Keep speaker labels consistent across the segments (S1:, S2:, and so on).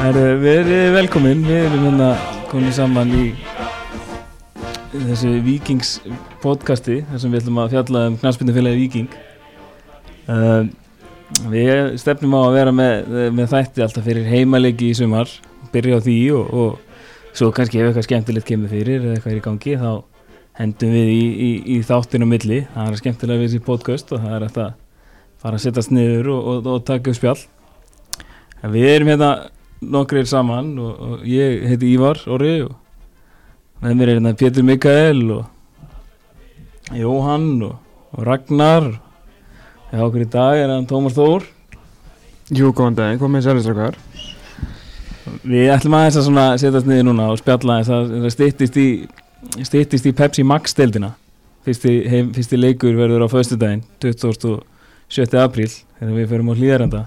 S1: Heru, við erum velkomin, við erum hérna komin saman í þessu Víkings podcasti þar sem við ætlum að fjalla um knarspinnufélagi Víking um, Við stefnum á að vera með, með þætti alltaf fyrir heimalegi í sumar byrja á því og, og svo kannski ef eitthvað skemmtilegt kemur fyrir eða eitthvað er í gangi þá hendum við í, í, í þáttinu milli það er skemmtilega við þessi podcast og það er hægt að fara að setjast niður og, og, og taka upp spjall En Við erum hérna nokkrir saman og, og ég heiti Ívar Orri og með mér er hérna Pétur Mikael og Jóhann og, og Ragnar eða okkur í dag er hann Tómar Þór
S2: Jú, góðan daginn, hvað með sérlistrakkar?
S1: Við ætlum aðeins að svona setjast niður núna og spjalla þess að það styttist í, styttist í Pepsi Max deildina fyrsti, heim, fyrsti leikur verður á föstudaginn 27. apríl þegar við förum á hlýðarenda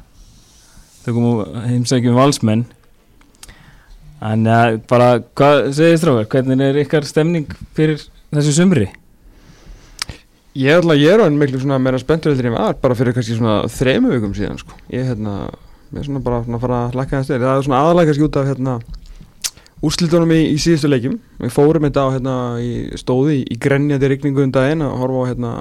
S1: tökum og heimsækjum valsmenn en uh, bara hvað segir strákar, hvernig er ykkar stemning fyrir þessu sumri?
S2: Ég ætla að ég er hann miklu svona meira spenntur eftir ég var bara fyrir kannski svona þremu vikum síðan sko. Ég hérna, mér er svona bara svona að fara að lakka það styrir, það er svona aðalega kannski út af hérna úrslitunum í, í síðustu leikjum Við fórum þetta á hérna í stóði í, í grenjandi rigningu um daginn að horfa á hérna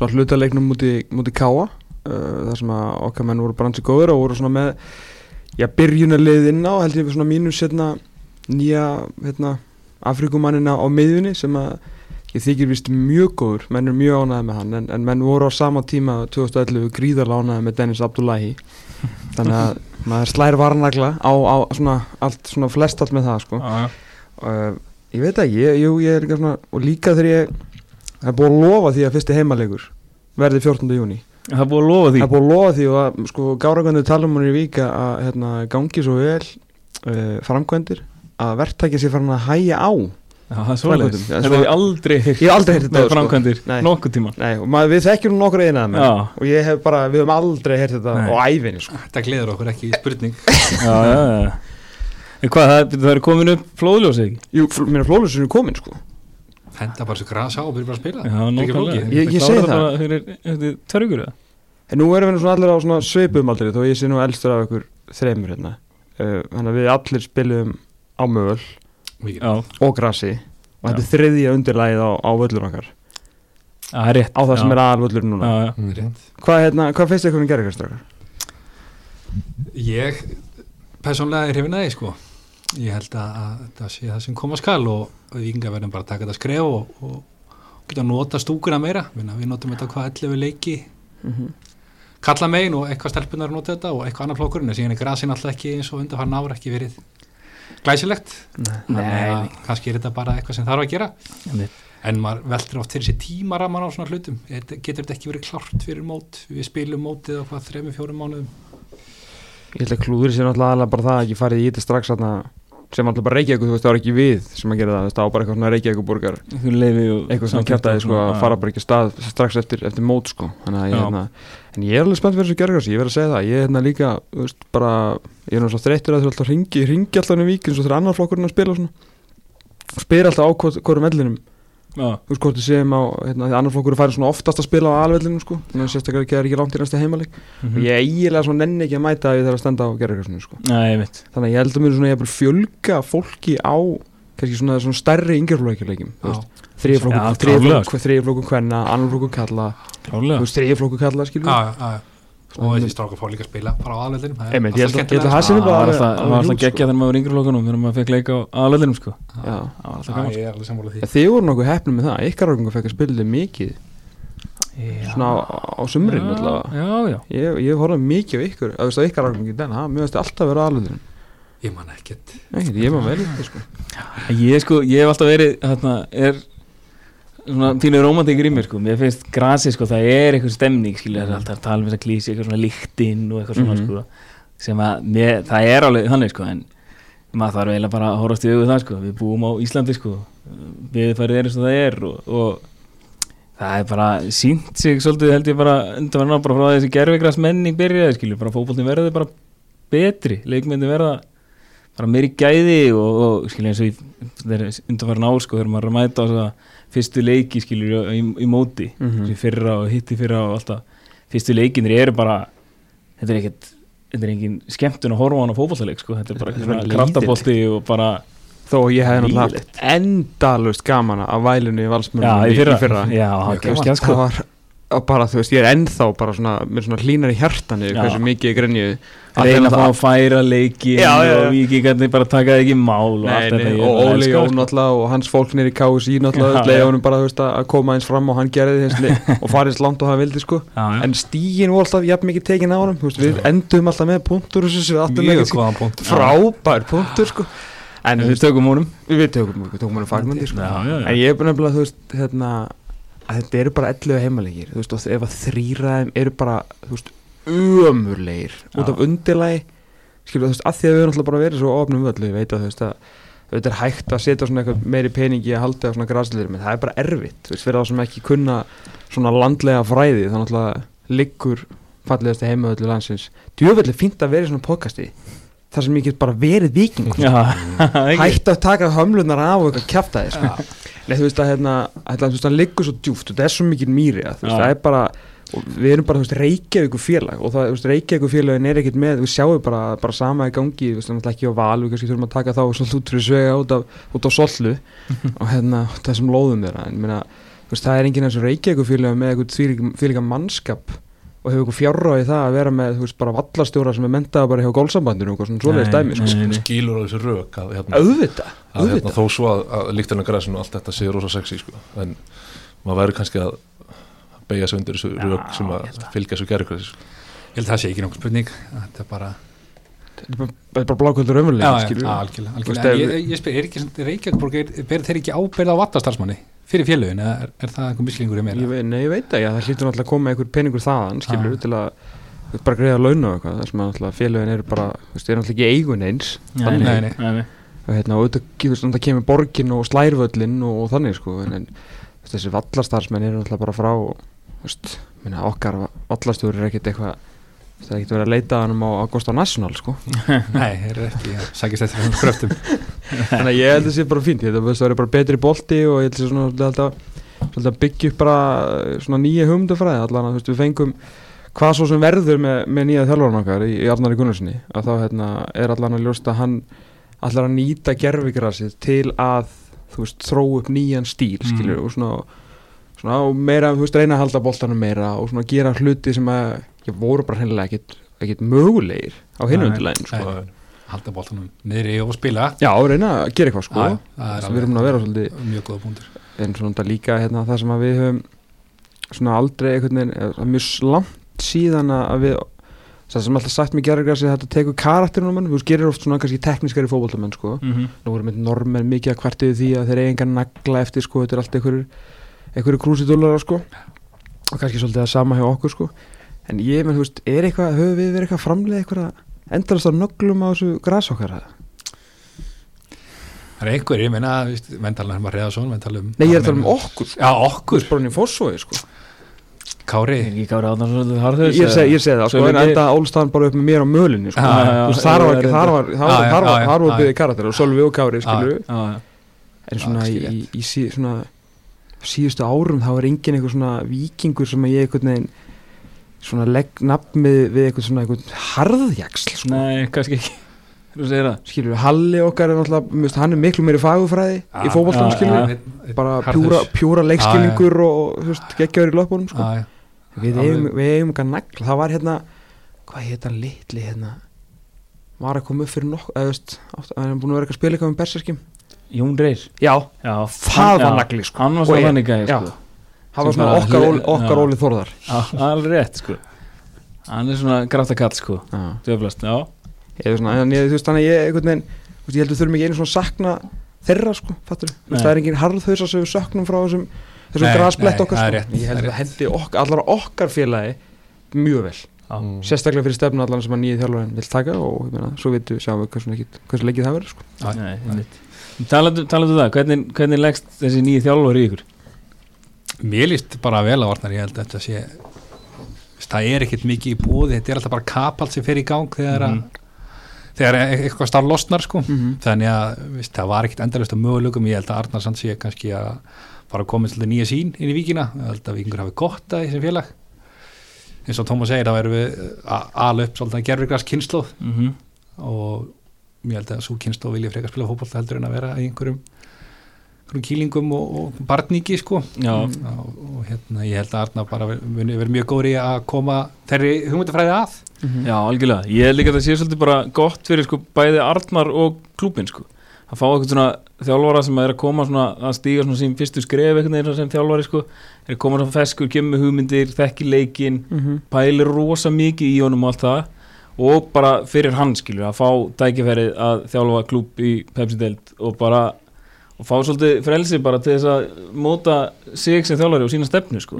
S2: svona hlutaleiknum múti, múti Káa uh, þar sem að okkar menn voru bransi góður og voru svona með já, byrjunarlið inn á held ég svona mínus hérna nýja hérna Afrikumannina á miðjunni sem að ég þykir vist mjög góður, menn er mjög ánæði með hann en, en menn voru á sama tíma 2011 gríðarlega ánæði með Dennis Abdullahi þannig að maður slær varnagla á, á svona, allt, svona flest allt með það sko. uh, ég veit ekki, ég, jú, ég er líka svona og líka þegar ég það er búið að lofa því að fyrsti heimalegur verði 14. júni
S1: Það er búið að lofa því
S2: það er búið að lofa því og að, sko, gárakvöndu talum hún í vika að hérna, gangi svo vel uh, framkvöndir að verktækja sér farin að hæja á
S1: Já, það er svoleiðis,
S2: Framkvæmdum. Já,
S1: þetta
S2: svo-
S1: hef ég aldrei heyrt
S2: Ég hef aldrei heyrt þetta
S1: með
S2: áður, sko.
S1: framkvæmdir,
S2: Nei. sko.
S1: nokkuð tíma
S2: Nei, og maður, við þekkjum nokkur einað með
S1: Já,
S2: og ég hef bara, við höfum aldrei heyrt þetta
S1: Nei.
S2: á ævinni sko.
S3: Þetta gleður okkur ekki í spurning
S1: já, já, já. En hvað, það, það er komin upp flóðljósi ekki?
S2: Jú, fl- mér er flóðlösun er komin sko.
S3: Henda bara svo grasa á og byrja bara að spila
S1: Já,
S3: Þetta er ekki
S1: nokkulega
S3: flókið.
S2: Ég- ég segi það.
S1: Fyrir, eftir törgur það?
S2: en nú erum við nú svona allir á svona svipum aldrei þó ég sé nú elstur af ykkur þreymur hérna. uh, þannig að við allir spilum á mögul
S3: Mikið.
S1: Já,
S2: og grassi og þetta er þriðja undirlægið á, á völlur okkar
S1: það er rétt
S2: á það sem
S1: já.
S2: er aðal völlur
S1: Já,
S2: núna
S1: já,
S3: Rétt.
S2: hvað, hérna, hvað finnst þið hvernig gerir ykkur strákar?
S3: Ég persónlega er hrifin að því sko Ég held að, að það sé það sem koma skal og við yngar verðum bara að taka þetta skref og, og geta að nota stúkuna meira Minna, Við notum þetta hvað 11 leiki kalla megin og eitthvað stelpunar nota þetta og eitthvað annað flokkurinn en síðan er grasin alltaf ekki eins og undarfarn ára ekki verið glæsilegt Þannig að kannski er þetta bara eitthvað sem þarf að gera
S1: Einmitt.
S3: en maður veldur oft fyrir sér tímaraman á svona hlutum Þetta- getur þetta ekki verið klárt fyrir mót við spilum mótið á hvað þremur, fjórum mánuðum
S2: ég held að klúður sér náttúrulega aðalega bara það að ekki farið í þetta strax þarna, sem alltaf bara Reykjavík þú veist það var ekki við sem að gera það þú veist, það var bara eitthvað svona Reykjavík
S1: þú leifi og
S2: eitthvað sem
S1: samþykkt
S2: kjarta
S1: og
S2: sko,
S1: svona,
S2: að
S1: já.
S2: fara bara ekki af stað strax eftir, eftir mót sko. Þannig að
S1: Já.
S2: ég, hérna, en ég er alveg spennt fyrir þessu gergars ég verð að segja það, ég er hérna líka þú veist, bara, ég er náttúrulega þreyttur að þurfa alltaf að ringi ég ringi alltaf um vík eins og þegar annar flokkurinn er að spila og svona, og spyr alltaf á hvort, hvorum vellinum
S1: Já,
S2: þú veist hvort þið séum á, hérna, því annar flokkurinn færi svona oftast að spila á alvellinum sko, þannig að sérstaklega það er ekki langt í næsta heimalik
S1: mhm.
S2: og ég eiginlega svona nenni ekki að mæta að ég þarf að stenda á gergarsinu sko.
S1: Nei, ég veit
S2: þannig að ég held að mér svona ég fjölga fólki á kannski svona, svona stærri yngjörflókjuleikim
S3: Já.
S1: Já, sko. klárlega,
S2: þriðflokku þriðflokku kvenna, annarflokku kalla
S1: Klálega
S2: þú veist þriðflokku kalla skilur
S3: Já, já, já. og þessi strákar fór líka að spila bara á aðleitinum
S2: Einmitt, ég held að- ég held að
S1: Það
S2: það sé nú
S1: var
S2: bara
S1: alltaf-
S2: alveg-
S1: það var
S2: alveg
S1: alltaf
S2: huge,
S1: geggja þegar maður var yngri flokunum þegar maður fekk leika á aðlöðinum sko
S2: já.
S1: Það var alltaf gaman
S3: ég er alveg sammála því
S2: En þið voru nokkuð hefnum með það, ykkar orðingu fekk að spila mikið
S1: sko.
S2: svona á, á sumrin
S1: Já,
S2: alltaf
S1: Já, já
S2: ég, ég horfði mikið á ykkur, að þú veist að ykkar orðingu den, það mjög veist alltaf vera aðlöðurinn
S3: ég man ekkert
S2: Nei, ég maður vel eitthvað sko
S1: Ég sko, ég hef alltaf verið þarna er svona tínu romantikur í mér sko mér finnst grasi sko, það er eitthvað stemning skilja það er alltaf að tala um þess að klísi eitthvað svona líktinn og eitthvað svona
S2: Mhm.
S1: sko sem að mér, það er alveg þannig sko en maður þarf eiginlega bara að horfast í augu við það sko við búum á Íslandi sko við farið erum svo það er og, og það er bara sínt sig svolítið held ég bara undanverðan bara frá því að þessi gerfigras menning byrjaði skilju bara fótboltin verður bara betri leikmyndi verða bara meiri gæði og, og skilja eins og í undanfærin ár sko þegar maður er að mæta á þessa fyrstu leiki skilur í, í móti mm
S2: Mhm.
S1: fyrra og hitti fyrra og alltaf fyrstu leikinir eru bara þetta er ekkert þetta er engin skemmtun að horfa á hann á fótballleik sko. þetta er bara
S2: Þetta er
S1: svona
S2: lítill.
S1: kraftabolti og bara
S2: þó að ég hefði náttúrulega
S1: Lýðilegt.
S2: haft endalust gaman að vælinu í
S1: já,
S2: valsmörnum
S1: í fyrra, já,
S2: Já,
S1: það
S2: þú
S1: gerst
S2: veist,
S1: hann sko
S2: það var og bara, þú veist, ég er ennþá bara svona mér svona hlínar í hjartan yfir
S1: Já.
S2: hversu mikið ég grenjiði
S1: reyna að fá að færa leiki
S2: Já, já, já.
S1: og vikingarnir bara taka það ekki í mál og allt
S2: Nei,
S1: þetta
S2: nei,
S1: ég
S2: og
S1: bara
S2: Óli
S1: elska það, sko.
S2: Jón náttúrulega og hans fólk nýri KSI náttúrulega
S1: Já,
S2: leiði
S1: já.
S2: honum bara þú veist, að að koma eins fram og hann gerði þessi og farið eins langt og hann vildi sko
S1: sko. Já, já.
S2: en stígin var alltaf jafn mikið tekin á honum þú veist, við
S3: Já.
S2: endum alltaf með punktur og þessu við áttum
S3: mjög
S2: ekki sko,
S3: góðan punkt
S2: frábær punktur sko en
S1: en
S2: þú
S1: við tökum honum
S2: veist, við tökum við tökum honum fagnandi sko
S1: já, já,
S2: en
S1: já.
S2: ég er bara nefnilega þú veist hérna að þetta eru bara 11 heimalegir þú veist og ef að þrýraðum eru bara þú veist ömurlegir út
S1: Já.
S2: af undirlagi skilur þú veist að því að við erum alltaf bara verið svo ofnum völdu ég veit að þú veist að þetta er hægt að setja svona eitthvað meiri peningi að halda á svona græsleir menn það er bara erfitt þú veist fyrir þá sem ekki kunna svona landlega fræði þannig að liggur fallegasti heimavöldu landsins djöfellir fínt að vera í svona podcasti þar sem ég get bara verið viking
S1: Já, ekki.
S2: hætt að taka hömlunar af og eitthvað kjafta þér sko. Nei, þú veist að hérna, hérna þú veist að hann liggur svo djúft og það er svo mikil mýri að þú veist
S1: Já.
S2: það er bara og við erum bara þú veist Reykjavíkur félag og það þú veist Reykjavíkur félagin er ekkert með við sjáum bara, bara sama í gangi þú veist náttúrulega ekki á val við kannski þurfum að taka þá svolítið út fyrir svega út af, út af sollu og hérna þessum lóðum þeirra en minna þú veist það er enginn eins og Reykjavíkur félag með eitthvað þvílíka- þvílíka mannskap og hefur eitthvað fjárra í það að vera með þú veist bara vallastjóra sem er mentaða bara hjá gólsambandinu og eitthvað svona svoleiðis
S1: Nei,
S2: dæmi sko.
S1: nei, nei.
S4: skilur á þessu rök að, hérna,
S2: auðvitað,
S4: að hérna,
S2: auðvitað
S4: þó svo að, að líktan að græsinu og allt þetta sé rosa sexy sko. en maður væri kannski að beigja sig undir þessu
S1: Já,
S4: rök sem
S1: ég held
S4: að fylgja þessu gerðugræs sko.
S3: ég held að það sé ekki nokkuð spurning þetta er bara
S2: Þetta er bara- þetta er bara blákvöldur
S3: já,
S2: ömurlega
S3: já,
S2: skilur
S3: já,
S2: við
S3: algjörlega,
S2: Þú veist,
S3: algjörlega. En
S2: ef-
S3: Ég, ég spyr, er ekki svona Reykjavíkborg, er- ber þeir ekki ábyrð á vatastalsmanni fyrir félögin, eða er, er það einhver mislingur í mér?
S2: Ég veit- Nei, ég veit ekki, það hlýtur náttúrulega að koma einhver peningur þaðan, skilur
S3: Já.
S2: við, til að þú veist, bara greiða laun og eitthvað, þessum að náttúrulega félögin eru bara, þú veist, eru náttúrulega ekki í eigun eins
S1: Nei,
S2: þannig,
S1: nei,
S3: nei.
S1: nei, nei.
S2: og hérna, og auðvitað, þú veist, náttúrulega kemur borgin og slærvöllin og, og þannig, sko, en, en þú veist, þessi vallastarsmenn eru náttúrulega bara frá, þú veist, minna, okkar vallastur er ekkit eitthvað, þú veist, það er ekkit verið að leita að hann á Augusta National, sko,
S3: Nei, er ekki, já, sækist eftir hans kröftum
S2: þannig að ég held að það sé bara fínt, ég held að það verið bara betri bolti og ég held að sé svona svolítið alltaf, svolítið að byggja upp bara eh, svona nýja hugmyndafræði allan að þú veist við fengum hvað svo sem verður með, með nýja þjálfarinn okkar í, í Arnari Gunnarssoni að þá hérna, er allan að ljósta að hann allar að nýta gerfigrasið til að þú veist þró upp nýjan stíl
S1: Mm.
S2: skilur og svona, svona og meira, þú veist reyna að halda boltanum meira og svona gera hluti sem að ég voru bara hennilega ekkit, ekkit mögulegir á
S1: Nei.
S2: hinundilegin sko.
S3: Nei. Halda bóltanum niðri og spila
S2: Já, reyna að gera eitthvað sko
S3: Já, já, það er
S2: við erum búin að vera svolítið
S3: mjög góða búndur
S2: en svona þetta líka hérna, það sem að við höfum svona aldrei einhvern veginn eða það er mjög langt síðan að að við það sem alltaf sagt mér gerðargrassi þetta tekur karakterinu mann, þú veist gerir oft svona kannski teknískari fótboltamenn sko,
S1: Mhm.
S2: nú erum við normen mikið að kvartiðu því að þeir eigingar nagla eftir sko, þetta er allt einhverjur einhverjur krúsidólara sko og kannski svolítið að sama hjá okkur sko en ég menn, þú veist, er eitthvað, höfum við verið eitthvað framlega eitthvað endalast að nöglum á þessu gras okkar eða?
S3: Það er einhver, ég meina, víst, menn tala um að reyðasón menn tala um
S2: Nei, ég er að tala um okkur,
S3: Já, okkur,
S2: bara hann í fórsói sko
S3: Kári
S1: Ekki Kári Árnason svolítið harður
S2: ég segi, ég segi það, sko,
S1: Svo
S2: en
S1: við-
S2: enda álstaðan bara upp með mér á mölinni, sko
S3: eh, Já, já, já.
S2: Þú veist, þar var ekki, þar var, þar
S3: Já,
S2: var,
S3: já,
S2: þar var,
S3: já,
S2: þar
S3: já.
S2: var byggðið karakter og Sölvi og Kári, skilju
S1: Já, já.
S2: en svona
S3: Já,
S2: í,
S3: skil
S2: í, í sí, svona síðustu árum þá er engin eitthvað svona vikingur sem að ég einhvern veginn svona legg nafn með við eitthvað svona eitthvað harðjaksl, sko.
S1: Nei, kannski ekki Þú segir það
S2: skilju, Halli okkar er náttúrulega, mér veist, hann er miklu meiri fagufræði í fótboltanum,
S1: já,
S2: skilju bara pjúra, pjúra leikskilningur og, og, þú veist, geggjaður í löpunum, sko Við
S3: Já,
S2: eigum,
S3: við-
S2: við eigum eitthvað nagl, það var hérna, hvað heit hann litli hérna, var að koma upp fyrir nokkuð, eða þú veist, átt- hann er búin að vera eitthvað að spila eitthvað um berserskjum.
S1: Jón Reyr
S2: Já,
S1: Já,
S2: það var
S1: já.
S2: nagli, sko.
S1: Hann var
S2: Og
S1: svo
S2: ég-
S1: þannig gæði
S2: já.
S1: sko.
S2: Það var
S1: Sem
S2: svona
S1: bara
S2: okkar,
S1: hlið-
S2: óli, okkar
S1: já.
S2: óli þorðar.
S1: Allir rétt sko Hann er svona kraftakall sko
S2: Já.
S1: Döflast, já
S2: Eða svona, en ég, þú veist, þannig að ég, einhvern veginn, þú veist, ég heldur þurfum ekki einu svona að sakna þeirra, sko, fattur. Þú veist,
S1: Nei.
S2: það er enginn harðhauðsa sem við söknum frá þessum,
S3: Nei,
S2: þessum grasblett
S3: nei,
S2: okkar,
S3: það
S2: sko.
S3: er rétt,
S2: Ég held
S3: það er
S2: að hendi ok, allar okkar félagi mjög vel.
S3: Mhm.
S4: Mm.
S2: Sérstaklega fyrir stefnu allan sem að nýja þjálfurinn vil taka og, ég meina, svo vitum við sjáum við hversu, ekkit, hversu lengið það verður, sko.
S3: Já,
S1: Nei, einmitt. Talandi talandi um það, hvernig, hvernig leggst þessi nýju þjálfur í ykkur?
S3: Mér líst bara vel á varnar, ég held að þetta sé veist, það er ekkert mikið í búði þetta er alltaf bara kapall sem fer í gang þegar, mm þegar e- eitthvað starf losnar sko. þannig að veist, það var ekkert endalist á möguleikum, ég held að Arnar Sand sé kannski að bara komið svolítið nýja sín inn í vikina, ég held að vikingur hafi gott að því sem félag eins og Tómas segir, þá erum við að ala upp svolítið að gerfigras kynnslóð
S1: mm
S2: Mhm.
S1: -hmm.
S3: og ég held að svo kynnslóð vilja frekar spila fótbolta heldur en að vera í einhverjum, einhverjum kýlingum og, og barníki sko
S1: Já,
S3: og, og hérna ég held að Arna bara muni verið mjög góri að koma þeirri hugmyndafræði að
S2: Mhm.
S1: já, algjörlega Ég held líka að það sé svolítið bara gott fyrir sko, bæði Arnar og klúbin sko. að fá eitthvað svona þjálfara sem að er að koma svona, að stíga svona sín fyrstu skref einhvern veginn sem þjálfari sko. er að koma svona feskur, kemur með hugmyndir, þekki leikinn
S2: Mhm.
S1: pælir rosa mikið í honum og allt það og bara fyrir hann skilur að fá tækifærið að þjálfa klúb í Pepsi-deild og bara og fá svolítið frelsi bara til þess að móta sig sem þjálfari og sína stefnu sko.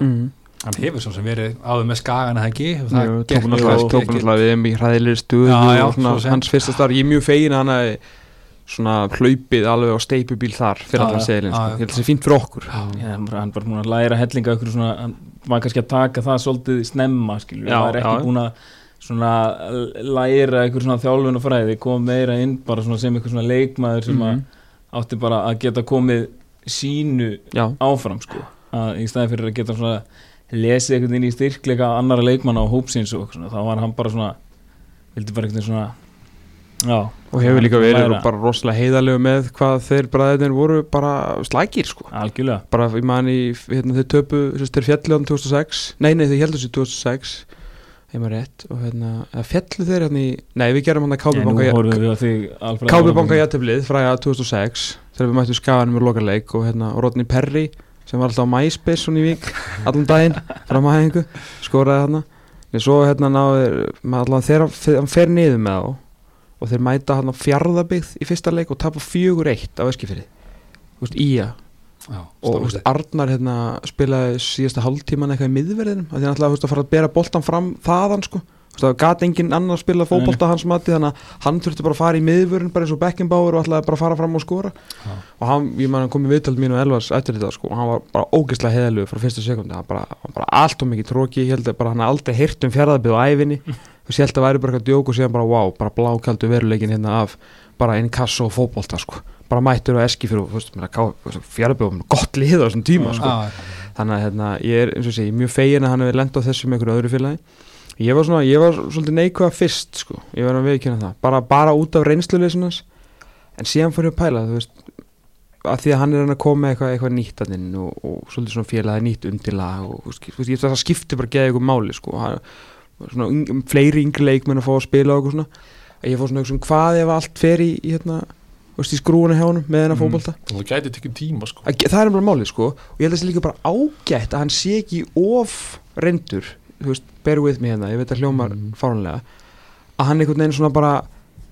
S3: hann hefur svo sem verið áður með skagan að það ekki og það
S2: Jú, Mhm.
S3: gekk
S2: tók náttúrulega-
S3: ekki-
S2: tók náttúrulega við mjög hræðilegri stuð
S3: Já, já,
S2: og svona,
S3: svo sem.
S2: hans fyrsta starf, ég er mjög fegin að hann hafi svona hlaupið alveg á steipubíl þar fyrir
S3: Já,
S2: allan
S3: já,
S2: seglin, sko.
S3: já, já.
S2: ég held að það sé fínt fyrir okkur
S3: Já.
S1: Já, hann bara- hann bara búin að læra hellinga ykkur svona, hann var kannski að taka það svolítið snemma skilur,
S2: Já,
S1: hann var ekki
S2: já.
S1: búin að svona læra ykkur svona þjálfun og fræði, kom meira inn bara svona sem ykkur svona leikmaður sem
S2: Mhm.
S1: að átti bara að geta komið sínu
S2: Já,
S1: áfram sko að í staði fyrir að geta svona lesið einhvern veginn í styrkleika annara leikmanna á hópsins og svona, þá var hann bara svona vildi bara einhvern veginn svona já,
S2: og hefur líka verið
S1: Læra.
S2: bara rosalega heiðalegu með hvað þeir bræðinir voru bara slækir sko
S1: algjörlega
S2: bara ég man í, hérna þeir töpu sérst, þeir fjallu án 2006, nei nei þeir heldur sér 2006 heima rétt og hérna, eða fjallu þeir hérna í nei við gerum hann að
S1: Nei, nú
S2: kápubanka
S1: horfum við á þig Alfreð
S2: Kápi banka jættöflið fræða 2006 þegar við mættum skafanum í lokaleik og hérna og Rodney Perry sem var alltaf á MySpace svona í vík allan daginn fram að hæðingu skoraði hérna en svo hérna náður allan þegar hann- þegar hann fer niður með þá og þeir mæta hann á fjárðabyggð í fyrsta leik og tapa 4-1 á Eskifyrði Þú veist, Ía
S3: Já,
S2: og þú veist, Arnar hérna spilaði síðasta hálftíman eitthvað í miðverðinum af því hann ætlaði þú veist, að fara að bera boltan fram þaðan sko Þú veist, það gat enginn annar að spila fótbolta hans mati þannig að hann þurfti bara að fara í miðvörun bara eins og Beckenbauer og ætlaði bara að fara fram og skora
S3: Já.
S2: og hann, ég man, hann kom í viðtal mín og Elvars eftir þetta sko og hann var bara ógeðslega heðalög frá fyrsta sekundi, hann bara, hann bara allt og mikið tróki, ég held að bara hann hafi aldrei heyrt um fjaraðabíð á ævinni og ég held að væri bara eitthvað djók og síðan bara wow, bara blákaldu veruleikin hérna af bara inn kass og fótbolta sko bara mættur og eski fyrir fjaraðabíð og gott lið á þessum tíma sko
S3: Já,
S2: þannig að hérna, ég er, eins og sé, ég er mjög fegin að hann hefur lent á þessu með einhverju öðru félagi ég var svona, ég var svolítið neikvæða fyrst sko, ég verður að viðkynna það, bara, bara út af reynsluleysunans, en síðan fór ég að pæla, þú veist að því að hann er hann að koma með eitthvað, eitthvað nýtt að inn og, og svolítið svona félagi nýtt undirlag og þú veist, þú veist, ég veist að það skiptir bara að geða ykkur máli sko, og hann, svona yng, fleiri yngri leikmenn að fá að spila og eitthvað svona að ég fór svona, svona hvað ef allt fer í, í hérna, þú veist, í skrúuna hjá honum með hennar
S1: Mhm.
S2: fótbolta
S4: og það gæti tekið tíma sko
S2: Að ge- það er bara málið sko og ég held að það sé líka bara ágætt að hann sé ekki of reyndur þú veist, bear with me hérna, ég veit að hljómar mm.
S3: Mhm.
S2: fáránlega að hann einhvern veginn svona bara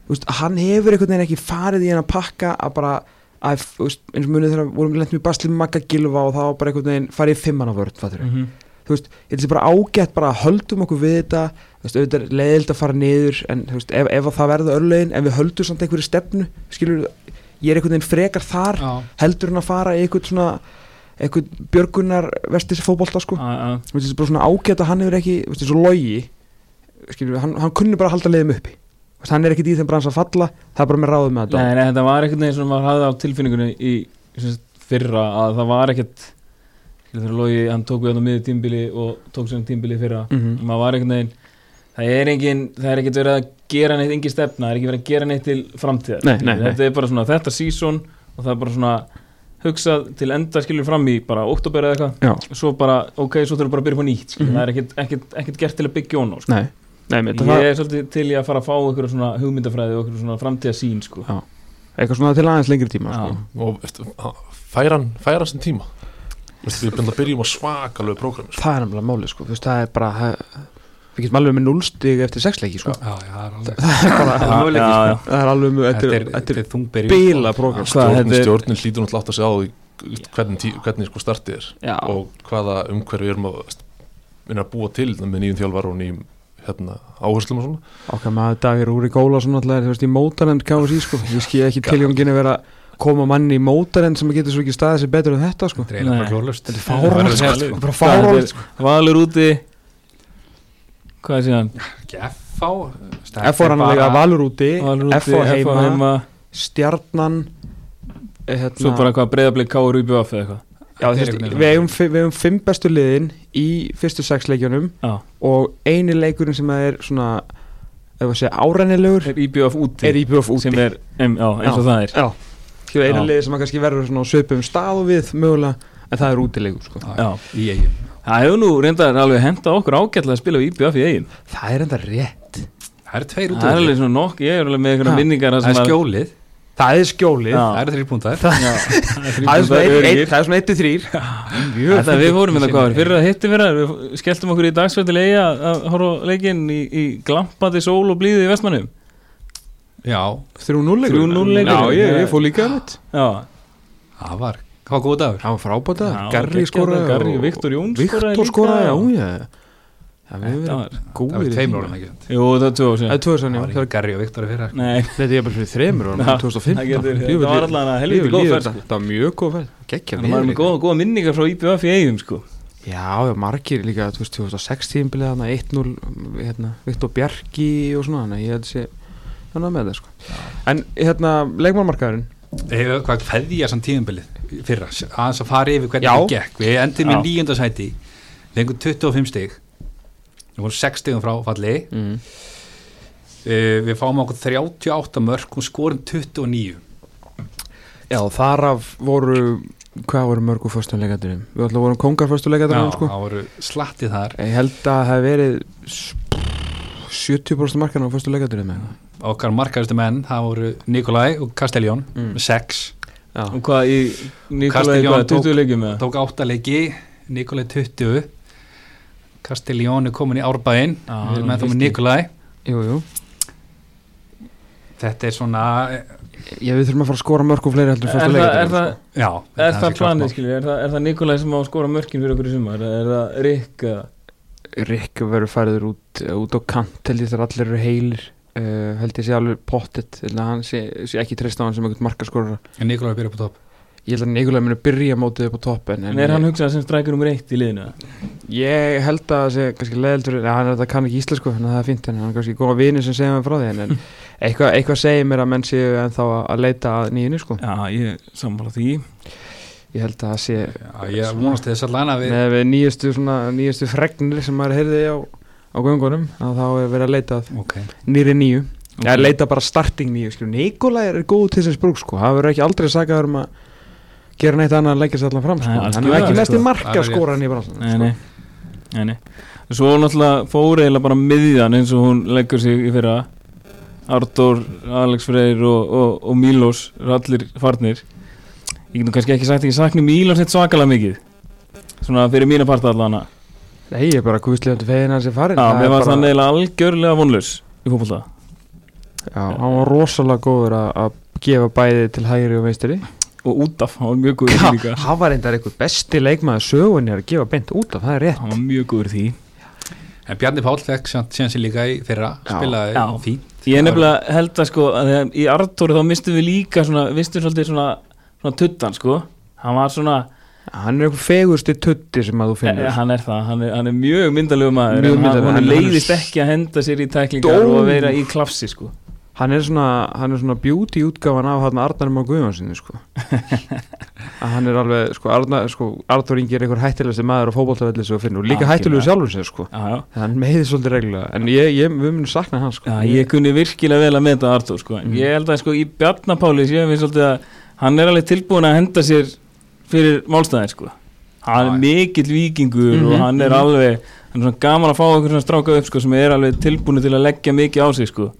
S2: þú veist, hann hefur einhvern veginn ekki farið í hann að pakka að bara að, þú veist, eins og munið þegar vorum lent mjög baslið með Magga Gilva og það var bara einhvern veginn farið í fimmann á vörð, fattur
S1: mm -hmm.
S2: þú veist, ég held að sé bara ágætt bara að höldum okkur við þetta þú veist, auðvitað er leiðild að fara niður en þú veist, ef, ef að það verða örlegin en við höldum samt einhverju stefnu, skilur ég er einhvern veginn frekar þar
S3: já,
S2: heldur hann að fara í eitthvað svona eitthvað björgunar vestis fótbolta sko, Þú veist, þetta er bara svona ágætt að hann hefur ekki, þú veist, eins og logi skilur, við, hann, hann kunni bara að halda leiðum uppi Þú veist, hann er ekkit í þeim brans að falla það er bara með ráðum með þetta
S1: Nei, nei, þetta var ekkert neginn sem maður hafði á tilfinningunni í sem sagt, fyrra að það var ekkert þegar Lógi, hann tók við hann á miður tímbili og tók sér hann tímbili fyrra
S2: Mhm.
S1: maður var ekkert neginn það er, engin, það er ekkert verið að gera neitt engin stefna, það er ekki verið að gera neitt til framtíðar
S2: Nei, nei, nei.
S1: þetta er bara svona þetta season og það er bara svona hugsað til enda skilur fram í bara oktober eða eitthvað
S2: Já.
S1: svo bara, ok, svo þurfum við bara að byrja upp á nýtt mm
S2: Mhm.
S1: það er ekkert, ekkert, ekkert gert til að byggja ón á sko.
S2: nei, nei, með
S1: ég
S2: það
S1: er svolítið til í að fara að fá ykkur svona hugmyndafræði og ykkur svona framtíðasín sko.
S2: Já. eitthvað svona til aðeins lengri tíma
S1: Já.
S2: sko.
S4: og eftir- að- færa hann færa hann sem tíma Þú veist, við byrjum að byrjum á svakalegu prógrami sko.
S2: það er náttúrulega máli, sko, þú veist, það er bara það, við getum alveg með núlstig eftir sexleiki sko.
S3: já, já, það er alveg
S2: það
S1: Já, já,
S2: er
S1: já.
S2: sko. það er alveg með, þetta er- þetta
S3: þetta
S2: er
S3: er þungberi
S2: bila sko. program
S1: Hvað,
S4: stjórnin,
S1: þetta er-
S4: stjórnin hlýtur náttúrulega átt að segja á því hvernig, tí- hvernig sko startið er
S1: Já.
S4: og hvaða umhverfi við erum að vinna að búa til með nýjum þjálfar og nýjum hérna, áherslum og svona
S2: okkar maður dagir úr í góla svona alltaf, þú veist, í mótarend KFC sko, ég skil ekki tiljóngin að vera að koma manni í mótarend sem getur svo ekki staðið sér betur en þetta sko,
S3: þetta er
S1: Nei.
S3: eiginlega bara glólust
S2: þetta er
S4: Það
S2: fáránlegt
S4: verður
S2: sko,
S4: sko-
S2: þetta er bara fáránlegt sko.
S1: Valur úti Hvað er síðan?
S3: F.A.
S2: F fór hann að lega valur úti
S1: Valur úti,
S2: F fór
S1: FH
S2: heima,
S1: heima
S2: stjarnan eh,
S1: Svo bara
S2: hérna,
S1: hvað breyðablið káur í bjöf eða eitthvað
S2: Já,
S3: Þetta
S2: þú
S3: er
S2: veist,
S3: einhvern
S2: við
S3: veginn svona-
S2: eigum, fi- við eigum fimm bestu liðin í fyrstu sex leikjunum
S1: Já.
S2: og eini leikurinn sem er svona ef að segja árænilegur
S1: er IBF úti
S2: er IBF úti
S1: sem er, em, já, eins og
S2: Já.
S1: það er
S2: Já, skilur eina
S1: Já.
S2: liði sem að kannski verður svona á svipum stað og við mögulega en það er útilegur sko.
S1: Já.
S3: í eigum
S1: það hefur nú reyndar alveg henda okkur ágætlega að spila á IBF í eigin
S2: Það er enda rétt
S3: það eru tveir út
S1: það er alveg svona nokk, ég er alveg með einhverja
S2: Ha.
S1: minningar þar
S3: það
S1: sem
S3: er
S1: að-
S3: skjólið,
S2: Það er skjólið
S1: Já.
S3: það eru þrír púntar
S1: Já, það er þrír
S2: Það er svona
S1: punktar
S2: einn-
S1: öruggir.
S2: einn- það er svona 1-3
S1: Þetta við fórum
S3: Ég
S1: hérna
S3: sé
S1: hvað var,
S3: mig.
S1: fyrir að hitti fyrir að við skelltum okkur í dagsveitilega að, að horfa á leikinn í, í glampandi sól og blíði í vestmannum
S3: já,
S2: 3-0 leikur
S1: 3-0 leikur.
S2: Já, ég, ég fór líka þetta
S1: Já,
S3: það var það var góð dagur
S2: Það var frábært að
S1: Já,
S2: Garri
S1: geggjaður,
S2: skoraði
S1: Garri,
S2: og-
S1: Viktor Jón skoraði
S2: Viktor
S1: líka.
S2: skoraði, já, já Já, við
S1: þetta
S2: erum
S1: var
S3: það
S2: góðir
S3: var
S2: í
S3: tveimur
S2: því.
S3: orðan ekki
S1: Jú, það var tvö ár
S2: Það
S1: síðan
S2: er tvö sannig,
S3: það
S2: það
S3: var ekki Garri og Viktor sko. fyrir
S1: Nei,
S2: Þetta er bara fyrir þreymur ára,
S1: Já, það
S2: 2015
S1: getur-
S2: Jú,
S1: þetta var
S2: líf-
S1: allan að
S2: líf-
S1: helviti góð
S2: líf-
S1: ferð
S2: Þetta var mjög góð ferð, geggja
S1: Það var með góða, góða minningar frá IPF í eigum sko
S2: Já, já, margir líka, þú veist, 2006 tímbilið þarna 1-0, hérna, Viktor Bjarki og svona, þannig að ég held sé þannig með það, sko En, hérna, leikmannmarkaðurinn
S3: Hefur hvað feðja samt tíðanbilið fyrra, aðeins að fara yfir hvernig
S2: Já.
S3: það gekk Við endum í
S1: Já.
S3: nýjunda sæti fengum 25 stig Við vorum 6 stigum frá falli
S2: mm.
S3: uh, Við fáum okkur 38 mörg og skorum 29
S2: Já, þar af voru, hvað voru mörgu föstum leikandurinn? Við alltaf vorum kongar föstum leikandurinn, sko
S3: það voru slattið þar
S2: Ég held að það hef verið s- 70% markarna á föstum leikandurinn með
S3: Okkar markaðustu menn, það voru Nikolai og Castelljón
S2: Mm.
S3: með 6
S2: Já,
S1: Og Um hvað í Nikolai,
S3: Castellón
S1: hvað,
S3: tók-
S1: 20 leikjum með
S3: Tók 8 leiki, Nikolai 20 Castelljón er komin í árbæðin
S1: Já,
S3: Við erum ennþá með
S1: fyrsti.
S3: Nikolai
S2: jú, jú
S3: Þetta er svona, eh,
S2: Já, við þurfum að fara að skora mörgu fleiri heldur
S1: Er
S2: föstum sko.
S1: það, er
S2: leikandurinn
S1: það,
S3: já
S1: sko. er
S3: sé
S1: það
S3: klárt mál.
S1: planið skilju, er það, er það Nikolai sem á að skora mörkin fyrir okkur í sumar, eða er það Rick eða
S2: Rikk verður færður út, eh, út á kant held ég þar allir eru heilir uh, held ég sé alveg pottet held að hann sé, sé ekki treysta á hann sem einhvern markaskorara
S3: En Nikolai byrja upp á topp
S2: ég held að Nikolaj muni byrja mótið upp á topp en,
S1: En er hann hugsað sem strækir um reitt í liðinu eða?
S2: ég held að það sé kannski leðildur en hann er þetta kann ekki íslensku þannig að það er fínt en hann er kannski góða vini sem segja mér frá því en, en eitthvað, eitthvað segir mér að menn séu ennþá að- að leita að nýjunni sko
S1: Já, ég sammála því
S2: ég held að það sé
S3: Já, ég vonast til þess að lana við
S2: með við nýjustu, svona, nýjustu fregnir sem maður heyrði á, á göngunum að þá er verið að leita að
S3: okay.
S2: nýri nýju Já,
S1: Ok.
S2: leita bara starting nýju, skilju, Nikolaj er góð til þess brúk, sko, hann verður ekki aldrei sagaður um að gera neitt annað en leggja sér allan fram, sko,
S1: Nei, alls
S2: hann er
S1: ekki,
S2: ekki mest í
S1: sko.
S2: marka
S3: Alveg
S2: skoran í sko. bransan,
S1: Nei, nei, nei, nei. Svo náttúrulega fór eiginlega bara miðjan eins og hún leggur sig í fyrra Ardór, Alex Freyr og, og, og Mílos eru allir farnir Ég getum kannski ekki sagt að ég sakni Mílos eitt svakalega mikið Svona fyrir mína parta allana
S2: sko. Nei, ég er bara guðslega til fegin að þessi farin,
S1: Já,
S2: Það
S1: mér
S2: er
S1: varst
S2: bara-
S1: hann eiginlega algjörlega vonlaus í fótbolta
S2: já, hann var rosalega góður að- að gefa bæði til hægri og veistri,
S1: Og út af, hann var mjög góður í því líka
S2: hann var reyndar einhver besti leikmaður sögunni að gefa beint út af, það er rétt,
S1: Hann var mjög góður í því
S3: En Bjarni Pál fekk samt síðan sér líka í fyrra
S2: Já.
S3: spilaði
S1: Já.
S3: fínt
S1: Ég nefnilega held að sko að þegar í Ardóri þá mistum við líka svona, vistum svolítið svona, svona tuttan sko Hann var svona,
S2: hann er einhver fegursti tutti sem að þú finnur,
S1: Eh, Hann er það, hann er, hann er mjög myndalegu maður
S2: Mjög
S1: mjög
S2: myndarlegur,
S1: myndalegu, hann, hann
S2: en hann er
S1: leiðist
S2: s-
S1: ekki að henda sér í tæklingar
S2: Dó.
S1: og að vera í klapsi sko.
S2: hann er svona, hann er svona beauty útgáfan af hann Arnar Már Guðjónssoni sko. að hann er alveg sko, Arnar, sko, Arnar Ingi er einhver hættilegasti maður á fótboltavelli sem þú finnur, og líka
S1: Algjörlega.
S2: hættilegu sjálfum sér sko.
S1: Já, já.
S2: hann meiði svolítið reglulega en ég, ég, við munum sakna hans sko.
S1: Já, ég kunni virkilega vel að meta Artur sko.
S2: Mm.
S1: ég held að sko, í Bjarnapáli séum við svolítið að hann er alveg tilbúin að henda sér fyrir málstæðin sko. hann er
S3: Já, já.
S1: mikill vikingur
S2: Mhm,
S1: og hann er
S2: mhm.
S1: alveg hann er svona gaman að fá okkur svona stráka upp sko, sem er alveg tilbúin til að leggja mikið á sig sko,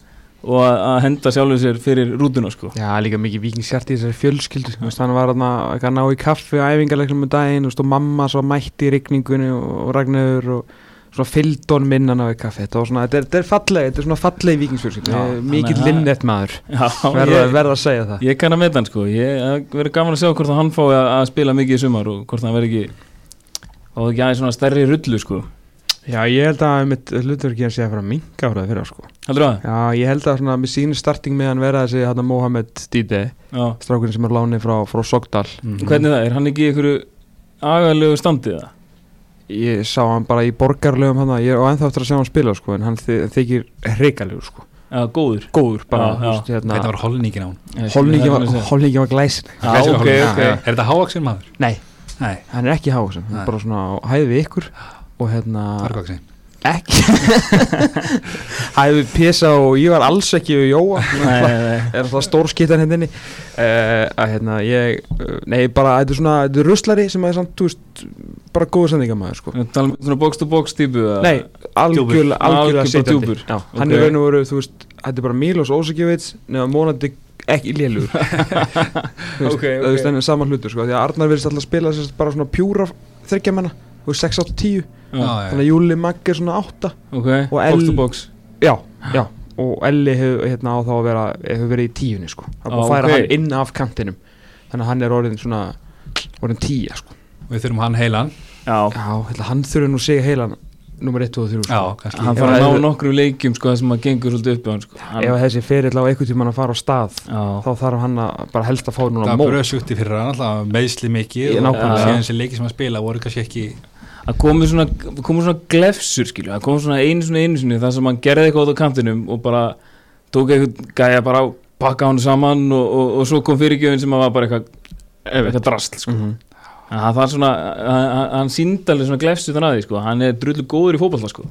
S1: og að, að henda sjálfur sér fyrir rútuna sko.
S2: Já, líka mikið vikingsjart í þessari fjölskyldu sko. þú veist, hann var þarna að ná í kaffi á æfingarleiknum um daginn, þú veist, og mamma svo mætti í rigningunni og, og Ragnarður og svona fylgdón minna ná í kaffi þetta, var svona, þetta, er, þetta er falleg, þetta er svona falleg vikingsfjölskyldu,
S1: Já,
S2: mikið
S1: þannig að-
S2: linnett maður
S1: Já,
S2: verða
S1: ég-
S2: verð að segja það
S1: Ég kann að meta hann sko, ég það verður gaman að sjá hvort að hann fái að, að spila mikið í sumar og hvort hann verður ekki og ekki aðeins svona stærri rullu sko
S2: Já, ég held að mitt hlutverki hans sé að fara að minka ára það fyrir sko.
S1: Heldur það?
S2: Já, ég held að svona með sínu starting með hann vera þessi hann Mohamed Dide,
S1: Já
S2: strákurinn sem er lánið frá, frá Sogdal.
S3: Mhm.
S1: Hvernig það, er hann ekki í einhverju agalegu standið það?
S2: Ég sá hann bara í borgarlegum hann, ég er á ennþá eftir að sjá hann spila sko, en hann þy þykir hreikalegur sko.
S1: Já, góður
S2: Góður
S1: Já,
S2: bara, þú veist,
S3: Þetta
S2: hérna.
S3: var holningin á hún
S2: Holningi var, holningi var glæsin.
S1: Já, ok,
S2: Já,
S1: ok
S2: já.
S3: Er þetta hávaxin maður?
S2: Nei,
S3: Nei,
S2: hann er ekki hávaksinn, hann
S3: Nei.
S2: er bara svona á hæði við ykkur og hérna
S3: fargvaksi
S2: ekki hæði við Pisa og ég var alls ekki við Jóa
S1: Nei, nei, nei.
S2: er alltaf stór skittan hendinni uh, að hérna ég eh, nei bara þetta er svona, þetta er ruslari sem að er samt, þú veist, bara góðu sendingamæður sko
S1: Við talum um svona box to box típu eða-
S2: Nei, algjör,
S1: Djúpur.
S2: algjörlega
S1: Algjör bara
S2: sitjandi
S1: djúpur.
S2: Já, Hann er
S1: Ok.
S2: raun og veru, þú veist, þetta er bara Milos Ósakjöfits nefnum mónandi ekki lélugur Þú
S1: Ok, ok.
S2: veist, þannig saman hlutur sko, því að Arnar virðist alltaf að spila sérst, bara svona pjúra þryggjamanna þú veist, 6 átt 10,
S1: Já,
S3: Já,
S2: þannig að Júli Magg er svona 8
S1: ok,
S2: Og
S1: box
S2: L-
S1: to box
S2: Já, já, og Elli hefur hérna á þá að vera, hefur verið í tíunni sko það er búið að
S1: Ah,
S2: færa
S1: ok.
S2: hann inn af kantinum þannig að hann er orðin svona orðin 10 sko,
S3: Við þurfum hann heilan
S1: Já,
S2: já, hérna, hann þurfi nú sig heilan nummer 1, 2 og 3 sko.
S3: Já, kannski
S1: hann
S2: Ef
S1: fara að
S2: að-
S1: ná nokkru leikjum sko það sem að gengur svolítið upp á hann sko hann,
S2: ef að þessi ferill á einhvern tímann að fara á stað
S1: já,
S2: þá þarf hann að bara helst að fá núna
S3: Það
S2: mót
S3: bröð sjúkti fyrir hann alltaf meðsli mikið
S2: Ég-
S3: og
S1: nákvæmlega.
S3: síðan þessi leiki sem hann spila voru kannski ekki
S1: að komi svona, komi svona glefsur skilju, að komi svona einu svona einu sinni þar sem hann gerði eitthvað út á kantinum og bara tók eitthvað gæja bara á pakka hann saman og, og, og svo kom fyrirgjöfin sem að var bara eitthvað eitthvað drasl sko
S2: mm -hmm.
S1: Þannig að hann þarf svona, hann- hann- hann síndalið svona glefsur þannig að því sko, hann er drullu góður í fótballa sko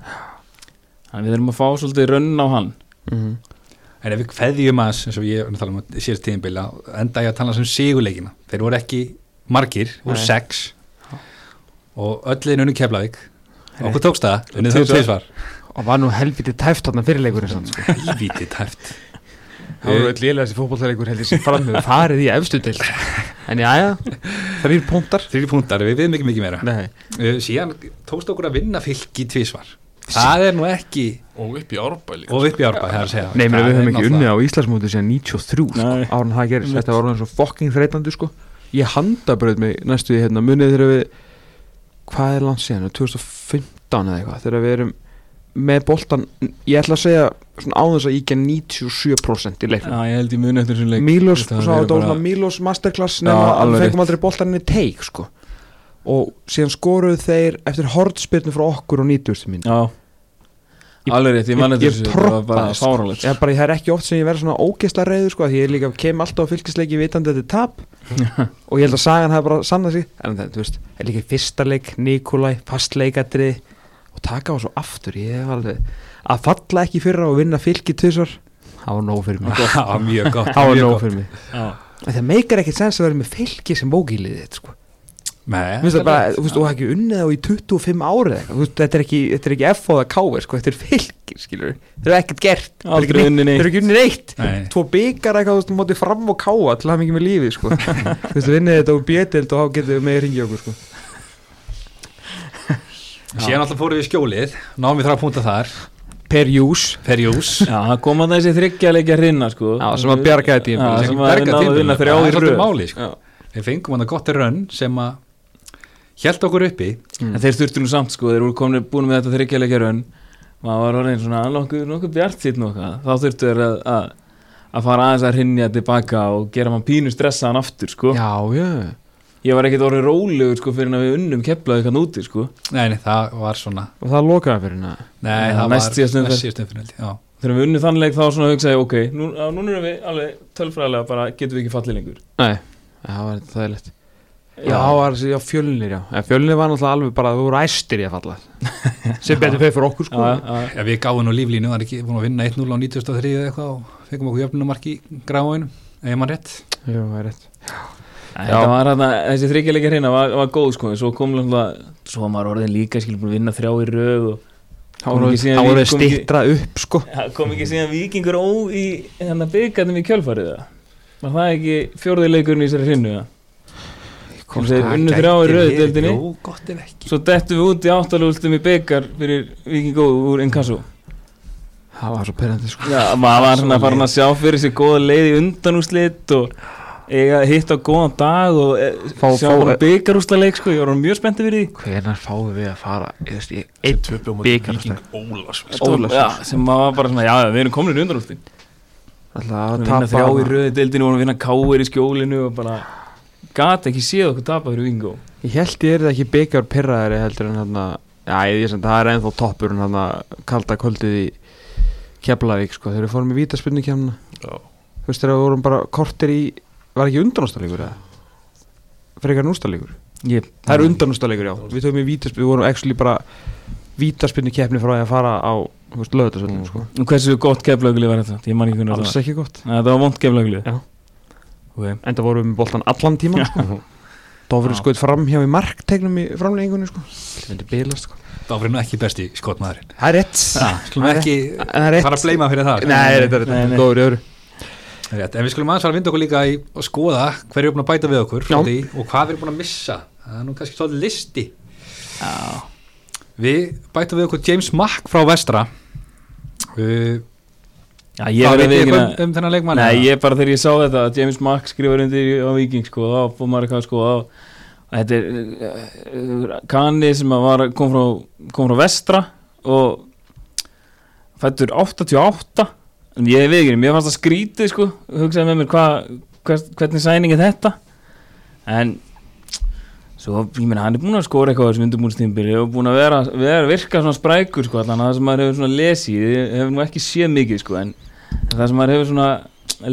S1: þannig að við þurfum að fá svolítið rönn á hann
S2: mhm.
S3: En ef við kveðjum aðeins, eins og ég var að tala um að síðast tíðinbila, enda ég að tala um sigurleikina. Þeir voru ekki margir, voru
S2: Nei.
S3: sex og öll einu unnu Keflavík.
S2: Nei.
S3: Okkur tókst það, unnið þau
S1: Tvisvar.
S3: tvisvar.
S2: og var nú helviti tæft þarna fyrirleikurinn sann sko.
S3: Ívíti tæft.
S2: það voru öll lélega þessi fótballleikur heldur sem fram hefur farið í efstu til en já, já, þrýr punktar
S3: Þrjú púntar, við við mikið mikið meira.
S2: Nei.
S3: Uh, Síðan tókst okkur að vinna fylki tvisvar. Það er nú ekki,
S4: og upp í árbæli
S3: og upp í árbæð, það er að segja.
S2: Nei, meni,
S3: Það
S2: við
S3: er
S2: höfum ekki unnið
S3: náttúrulega-
S2: á Íslandsmóti síðan 93 sko,
S1: Nei.
S2: árun það gerist,
S1: Einmitt.
S2: þetta var orðin svo fucking þreytandi sko. ég handabröð mig næstu í hérna, munið þegar við hvað er langt síðan, 2015 eða eitthvað, þegar við erum með boltan, ég ætla að segja svona áðins að ég gen 97% í leiknum
S1: Já, ég held ég muni eftir þessum leik
S2: Mílos,
S1: Þetta
S2: svo það var
S1: verið
S2: svona
S1: bara-
S2: Mílos masterclass
S1: Já,
S2: nema að
S1: alveg
S2: við fengum
S1: rétt.
S2: aldrei boltaninni teik sko. og síðan skoruðu þeir eftir hortspilnu frá okkur og 90. mínu
S1: Já
S2: Ég-
S1: Alveg rétt, ég
S2: ég-
S1: man
S2: ég
S1: eftir þessu Það var bara
S2: trompaði, sko.
S1: fáránlegt
S2: Ég, bara, það er ekki oft sem ég verð svona ógeðsla reyður sko, því ég líka kem alltaf á fylgisleiki vitandi að þetta er tap og ég held að sagan hafi bara sannað sig en það, þú veist, er líka í fyrsta leik Nikolai, fastleikatri og taka á svo aftur, ég hef alveg að falla ekki í fyrra og vinna fylgi tvisvar, það var nóg fyrir mig
S3: Það var mjög gott.
S2: það var
S3: mjög
S2: nóg
S3: gott.
S2: fyrir mig
S1: Já.
S2: En það meikar ekkert sens að vera með fylgi sem bókíliðið þitt, sko. Mér
S3: Nei,
S2: finnst það bara, þú veist,
S3: Já.
S2: og það ekki unnið á í 25 árið eitthvað, þú veist, þetta er ekki, þetta er ekki F eða K, sko, þetta er fylgir, skilur þetta er ekkert gert, þetta er
S1: Aldrei
S2: ekki neitt,
S1: unni
S2: þetta er
S1: neitt
S2: ekki unnið neitt
S3: Nei.
S2: tvo byggar eitthvað, þú veist, mótið fram og káa til það mikið með lífið, sko þú veist, vinnið þetta úr bjötild og þá getur við með ringið okkur, sko
S3: Síðan alltaf fórum við í skjólið, náðum við þrjá púnta þar,
S2: per jús,
S3: ferjús,
S1: Já, það kom að þessi þryggjarleikja hrinna sko
S2: Já, sem að bjargaði
S1: Já,
S2: tímabilið.
S1: sem að við náðum að vinna þrjá í
S3: röð
S1: röð
S3: máli, sko. Við fengum hann að gott rönn sem að held okkur uppi
S1: En þeir styrtu nú samt sko, þeir voru komin búin með þetta þryggjarleikja rönn Maður var orðin svona nokkuð, nokkuð bjart sitt nokkað Þá þurftu þeir að, að, að fara aðeins að hrinja tilbaka og gera mann pínu stressaðan aftur sko
S2: já, já
S1: Ég var ekkert orðin rólegur sko fyrir en að við unnum keplaði eitthvað núti sko
S3: Nei, nei, það var svona
S2: og það lokaði fyrir hérna
S3: Nei, það
S1: Næst
S3: var
S1: síðast umferð.
S3: næst síðast umferð held ég, já.
S1: Þegar við unnum þannleik þá svona hugsaði ég, ok, nú, á, núna erum við alveg tölfræðilega bara getum við ekki fallið lengur
S2: nei, það var þetta þægilegt Já, það var þessi, já, fjölnir, já. En fjölnir var náttúrulega alveg bara, þú voru æstir í að falla. Sem betur fyrir fyrir okkur,
S1: Já,
S2: sko.
S1: já, já.
S3: Já, Við gáðum nú líflínu, það er ekki búin að vinna 1-0 á 93 eða eitthvað og fengum okkur jöfnumark í gráinu, ef maður rétt
S2: Jú, það er rétt.
S1: Þetta var hérna, þessi þryggjarleikja hreina var, var góð sko, en svo kom náttúrulega, svo var maður orðin líka, skilur búin að vinna þrjá í röð og
S2: Þá
S1: Kom ekki síðan
S2: voru- þá voru
S1: við- kom ekki-
S2: stittra upp sko
S1: það kom ekki síðan vikingur ó í hérna byggarnum í kjölfarið það. Var það ekki fjórði leikurinn í þessari hreinu það? Hvort þeir unnu þrjá í röð í deildinni?
S3: Jú, gott ef ekki
S1: Svo dettum við út í áttalúltum í byggar fyrir vikingó úr Inkasso.
S2: Það var svo perandi sko
S1: Já, maður var hérna farin að sjá fyrir sér góða leið í undanúslit og eiga hitt á góðan dag og e,
S2: Fá-
S1: sjá
S2: fá-
S1: bara byggarúslaleik sko, ég var orðinn mjög spenntið fyrir því.
S2: Hvenar fáum við að fara Ég veist, ég- Einn
S4: tvö bjóð
S2: Bikar,
S4: mútið viking Ólasvík
S2: Ólafsson.
S1: Já, sem maður var bara svona, já, já, við erum komin í undanústin Við vinna
S2: Alltaf að tapa
S1: þrjá í
S2: hana.
S1: röði deildinu, vorum að vinna káir í skjólinu og bara gat ekki séð okkur tapa fyrir vingó
S2: Ég held ég er það ekki byggar pirraðari heldur en hérna Já, ég veist, það er ennþá toppur en hérna kalda kvöldið í Keflavík sko Þegar við fórum í vítaspurningkjæmna Þú veist, þegar við vorum bara kortir í Var ekki undanústalíkur eða? Frekar nústalíkur
S1: Ég,
S2: það er undanústaleikur já við tökum í vítaspinnu, við vorum actually bara vítaspinnu keppni frá því að fara á löðarsöldinu sko.
S1: Og Hversu gott keflaugli var þetta? Ég man ekki hvernig þetta var.
S2: alls ekki gott
S1: Nei, Það var vond keflaugli
S2: Já.
S1: Ok,
S2: enda vorum við með boltan allan tíman sko. Dofri
S1: Já.
S2: skoðið fram hjá í marktegnum í framleggingunni sko. Þetta er bilast, sko.
S3: Þá er nú ekki besti skotmaðurinn
S2: það er rétt
S3: Skulum
S2: það er-
S3: ekki
S2: En það er rétt
S3: fara að bleima fyrir það
S2: Nei, Ah, þetta er
S1: Nei, nei.
S2: rétt, góður í öðru
S3: Rétt, en við skulum aðeins fara að vinda okkur líka í að skoða hverju er búin að bæta við okkur
S2: Já.
S3: svolítið, í og hvað við erum búin að missa það er nú kannski svolítið listi Já. við bæta við okkur James Mack frá Vestra uh,
S1: já, ég verði að
S3: veit
S1: veikina
S3: um, um þennan leikmann
S1: Nei,
S3: eða?
S1: ég bara þegar ég sá þetta að James Mack skrifar undir á Viking sko, þá fór maður eitthvað sko, þá Þetta er uh, kanni sem að var, kom, frá, kom frá vestra og fættur 88 en ég veit ekki, mér fannst það skrítið sko, hugsaði með mér hva, hvers, hvernig sæning er þetta en svo, ég meina, hann er búin að skora eitthvað á þessum undirbúinnstímbili og búin að vera, vera virka svona sprækur sko, allan að það sem maður hefur svona lesið, ég hef nú ekki séð mikið sko, en það sem maður hefur svona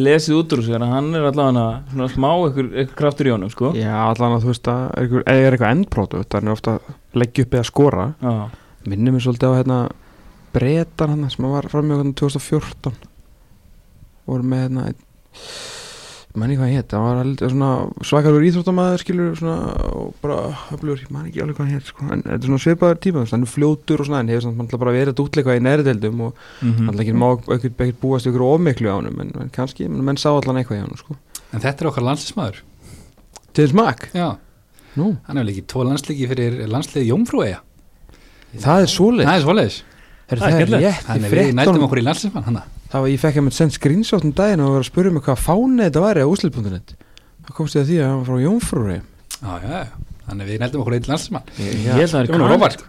S1: lesið út úr þessu er að hann er allavega svona smá ykkur, ykkur kraftur í honum sko.
S2: Já, allan að þú veist að er einhver- ef er eitthvað endprótu það er ofta að leggja upp eða skora
S1: Já.
S2: minnir mér svolítið á hérna breytan hann sem var hérna, fram í okkur 2014 voru með hérna manni hvað hann hétt, hann var aldrei svona svakalur íþróttamæður skilur svona, og bara öflugur, ég man ekki alveg hvað hann hétt sko. en þetta er svona svipaður tíma, þú veist, hann er fljótur og svona, en hefur samt náttúrulega bara verið að dútleika í næri deildum og
S1: Mhm.
S2: alltaf ekki má ekkert, ekkert búast ykkur ofmiklu á honum, en, en kannski, menn, menn sá allan eitthvað í honum sko.
S3: en þetta er okkar landslismæður
S2: til smak,
S3: Já,
S2: nú,
S3: hann hefur líkið tvo landsleiki fyrir landsliði Jómfrúeja
S2: það er svoleið
S3: Það er svoleiðis
S2: Heyrðu,
S1: Það er
S2: það er
S1: skemmtilegt.
S2: rétt, ég
S3: Þannig við nættum
S2: fréttum
S3: okkur í landslismann hana.
S2: það var, ég fekk einmitt send screenshot um daginn og var að spyrja mig hvað fáni þetta væri á úslit.net þá komst ég að því að hann var frá Jónfrúri
S3: Já, já, já. Þannig við nættum okkur í landslismann
S1: ég held að það er
S3: Jón
S1: kanni
S3: Robert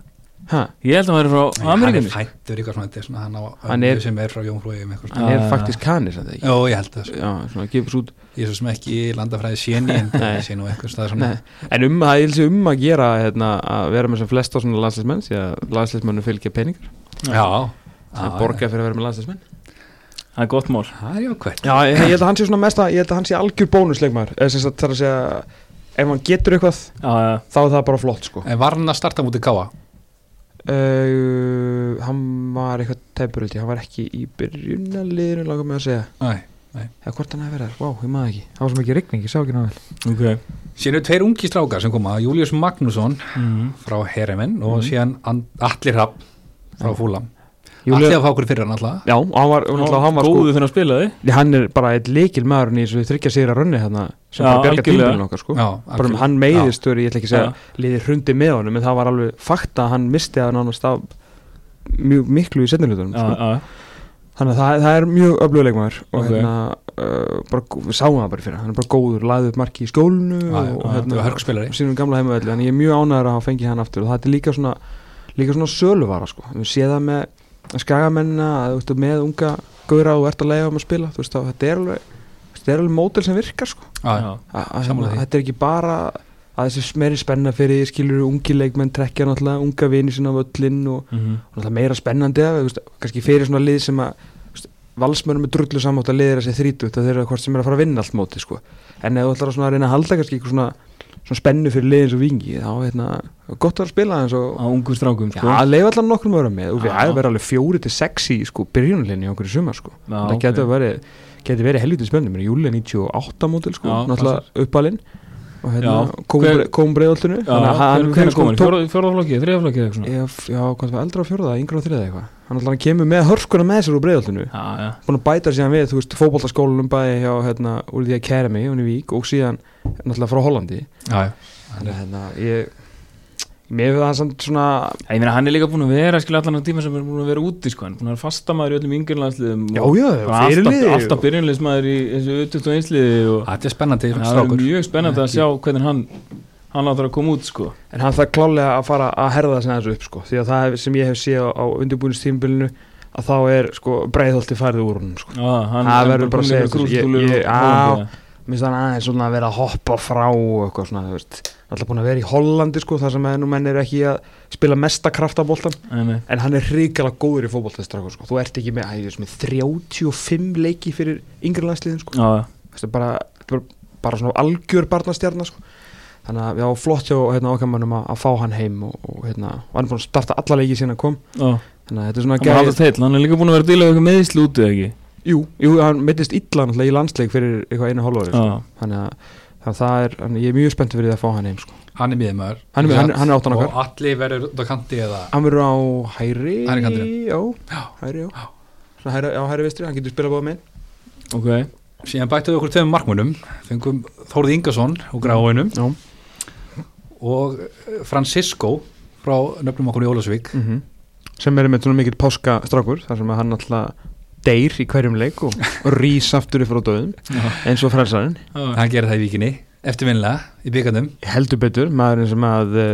S2: ha,
S1: ég held að það er frá
S3: Hann
S1: Ameríkanu
S3: er fættur eitthvað svona, þetta er svona hann á
S2: Hann
S3: ömmu
S2: er-
S3: sem er frá Jómfrúeja með eitthvað svona
S2: hann
S1: Já,
S2: er
S1: Ah. já,
S2: faktisk kanir sem það ekki
S3: Já, ég held það sko.
S2: já, svona, gefur út
S3: Ég er svo sem ekki landafræði séni en
S2: Nei.
S3: ég sé nú eitthvað stað svona
S2: Nei. en um að það er um að gera hérna, að vera með sem flesta svona landslismenn því að landslismennu fylgja peningar
S3: Já,
S2: sem
S1: Ah,
S3: Já,
S2: borga fyrir að vera með landslismenn
S1: það er gott mál
S3: já. Það er jákvæmt
S2: já, ég, ég held að hann sé svona mesta, ég held að hann sé algjör bónusleikmar eða sem sagt þarf að segja ef hann getur eitthvað,
S1: Já, já.
S2: þá er það bara flott sko.
S3: En var hann að starta mútið káa?
S2: uh, hann var eitthvað tæpur held ég, hann var ekki í byrjunaliðinu langar mig að segja
S3: Nei
S2: eða hvort hann hefði verið þar, vá, wow, ég maður ekki það var svo mikið rigning, ég sá ekki náður
S1: ok
S3: Síðan eru tveir ungi strákar sem koma Július Magnússon
S1: Mhm.
S3: frá Heremen og
S2: Mhm.
S3: síðan And- Atli Rapp frá Fúlam Atli
S2: Júlía...
S3: að fá okkur fyrir hann alltaf
S2: já, og hann var, hann, hann, hann var
S1: góðu
S2: sko
S1: fyrir að spila þig
S2: Nei, hann er bara eitt leikil maðurinn í þessu þryggja sigra rönni hérna sem
S1: Já,
S2: bara bjarga
S1: algjörlega.
S2: tímbilin okkar sko
S3: Já,
S2: bara um
S3: algjörlega.
S2: hann
S3: Já.
S2: meiðist, þú ég ætla ekki að segja
S1: Já.
S2: liðið hrundi með honum, en það var alveg fakta að hann misti að nánast af mjög miklu í setnilutunum
S1: Já,
S2: sko.
S1: já.
S2: þannig að það, það er mjög öfluguleikmaður og
S1: Ok.
S2: hérna, uh, bara, gó- við sáum það bara fyrir hann er bara góður, laðið upp marki í skólinu
S3: Já, já,
S2: og
S3: já, Þetta var
S2: hérna,
S3: hörgspilari
S2: sínum gamla heimavelli þannig ég er mjög ánæður að hafa fengið hann aftur og þetta er líka svona, líka svona söluvara sko. við séð það með skagamennina að þú ert með unga góra og ert að leiða um að spila þú veist, þá, þetta er alveg þetta er alveg mótel sem virkar sko.
S1: Já.
S2: A, a,
S3: Sammála því.
S2: þetta er ekki bara að þessi meiri spenna fyrir því skilur ungi leikmenn trekkja náttúrulega unga vini sinna á völlinn og,
S1: Mhm.
S2: og náttúrulega meira spennandi að, þú veist, kannski fyrir svona lið sem að þú veist, valsmörum er drullu samátt að liðra sér þrítugt að þeir eru hvort sem er að fara að vinna allt móti sko. en ef þú ætlar að svona reyna að halda kannski einhver svona, svona spennu fyrir liðin svo vingi þá hérna, gott að spila eins og
S1: á ungu strákum
S2: Já,
S1: sko
S2: leiða allan nokkur mörgum með og við
S1: Já.
S2: æðum verið alveg fjóri til sex í sko, byrjunleginni okkur í sumar sko.
S1: Já,
S2: það
S1: ok.
S2: getur verið, getur verið helviti spennum júli 98 mótil sko,
S1: Já,
S2: náttúrulega uppalinn og hérna
S1: Já. Hver-
S2: kom
S1: Já,
S2: breyðoltinu
S1: hvernig
S2: sko
S1: hvernig kom hann? Fjórða- fjórða flokki, þriða flokki eða eitthvað svona?
S2: Já, f- já, hvað það var eldra á fjórða, yngra á þriða eða eitthvað Hann alltaf kemur með hörskuna með sér úr breiðoltinu
S1: Já, já,
S2: Búin að bæta síðan við, þú veist, fótboltaskólanum bæði hjá, hérna, úr því að kæra mig, hún í Vík Og síðan, náttúrulega frá Hollandi
S3: Já, já.
S2: Þannig að, hérna, ég Mér hefur það samt svona
S1: Já, ég meina hann er líka búin að vera skilja allan á tíma sem er búin að vera úti sko, hann er búin að vera fastamaður í öllum yngirlandsliðum
S2: Já,
S1: og
S2: já,
S1: bara
S2: fyrirliði Ah,
S1: alltaf, alltaf byrjunliðsmaður í þessu 21 liði
S2: Sko.
S1: og
S3: Þetta er spennandi
S1: það
S3: strákur
S1: er mjög spennandi að sjá hvernig hann hann áttur að koma út sko
S2: En hann þarf klálega að fara að herða þessi aðeins upp sko. Því að það hef- sem ég hef séð á, á undirbúinistímbilinu Að þá er sko breiðholti færið úr honum sko.
S1: Já, hann
S2: Það
S1: hann
S2: verður bara að segja þessu. Ég-
S1: grústúlur
S2: ég-
S1: og-
S2: já. Mér finnst hann aðeins svona að vera að hoppa frá og eitthvað svona, þú veist Alltaf búin að vera í Hollandi sko, þar sem ennum menn er ekki að spila mesta kraftaboltan
S1: Nei, nei.
S2: En hann er hrikalega góður í fótboltastrakur sko. Þú ert ekki með, æ, þú veist, með 35 leiki fyrir yngri landsliðin sko.
S1: Já, já.
S2: Þetta er bara, bara, bara svona algjör barnastjarnar sko. þannig að já, flott hjá hérna, okkamannum að, að fá hann heim og, og hérna, og hann er búin að starta alla leiki síðan að kom
S1: Já,
S2: þannig að þetta er svona
S1: hann er alltaf teil, hann er líka búin að vera að díla við eitthvað meðislu út eða ekki
S2: jú, jú, hann mittist illa náttúrulega í landsleik fyrir eitthvað einu hálfari
S1: Já,
S2: sko. þannig að þannig að það er, þannig að ég er mjög spenntið fyrir því að fá hann heim sko.
S3: hann er miðmaður
S2: Hann er miðjumaður, hann- hann er áttan okkar.
S3: og allir verður út á kanti eða
S2: hann verður á hæri
S3: Hægri kantinum.
S2: já,
S3: já.
S2: hæri, já
S3: Já.
S2: Svona hæri, já, hæri vistri, hann getur spilað báða með
S1: ok
S3: síðan bættum við okkur tveim markmunum fengum Þórði Ingason og Gráinum
S2: já,
S3: og eh, Francisco frá nöfnum okkur í Ólasvík
S2: mm sem er með svona mikill páskastrákur þar sem að hann alltaf deyr í hverjum leik og rís aftur upp frá döðum eins og frelsarinn
S3: hann gerir það í vikinni, eftirvinnilega í byggandum
S2: heldur betur, maðurinn sem að uh,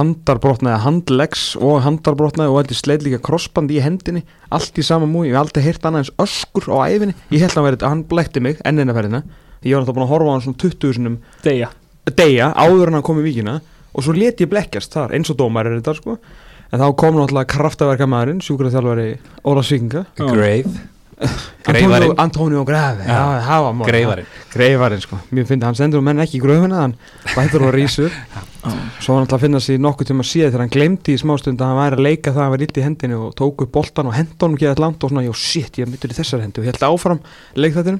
S2: handarbrotnaði handlegs og handarbrotnaði og heldur sleit líka krossband í hendinni, allt í sama múi ég hef aldrei heyrt annað eins öskur á æfinni ég held að hann verið, hann blekti mig enn eina ferðina ég var alltaf búin að horfa á hann svona 20 sinum
S1: Deja
S2: deyja áður en hann kom í víkina og svo let ég blekkjast þar eins og dómar er þetta sko en þá kom náttúrulega kraftaverka maðurinn sjúkraþjálfari Óla Svíkinga
S1: Já.
S3: Grave,
S2: Antonio,
S3: Greifarinn.
S2: Antonio Grave
S3: Já.
S2: já, það var mál.
S3: Greifarinn
S2: Greifarinn sko, mér finnst að hann sendur um menn ekki í gröfuna hann bætur og rísur svo hann alltaf að finna sig nokkuð tíma síðan þegar hann glemdi í smástund að hann væri að leika það að hann var illt í hendinu og tók upp boltan og hendunum geðað land og svona, já shit, ég er myndur í þessar hendu og held áfram leik þetta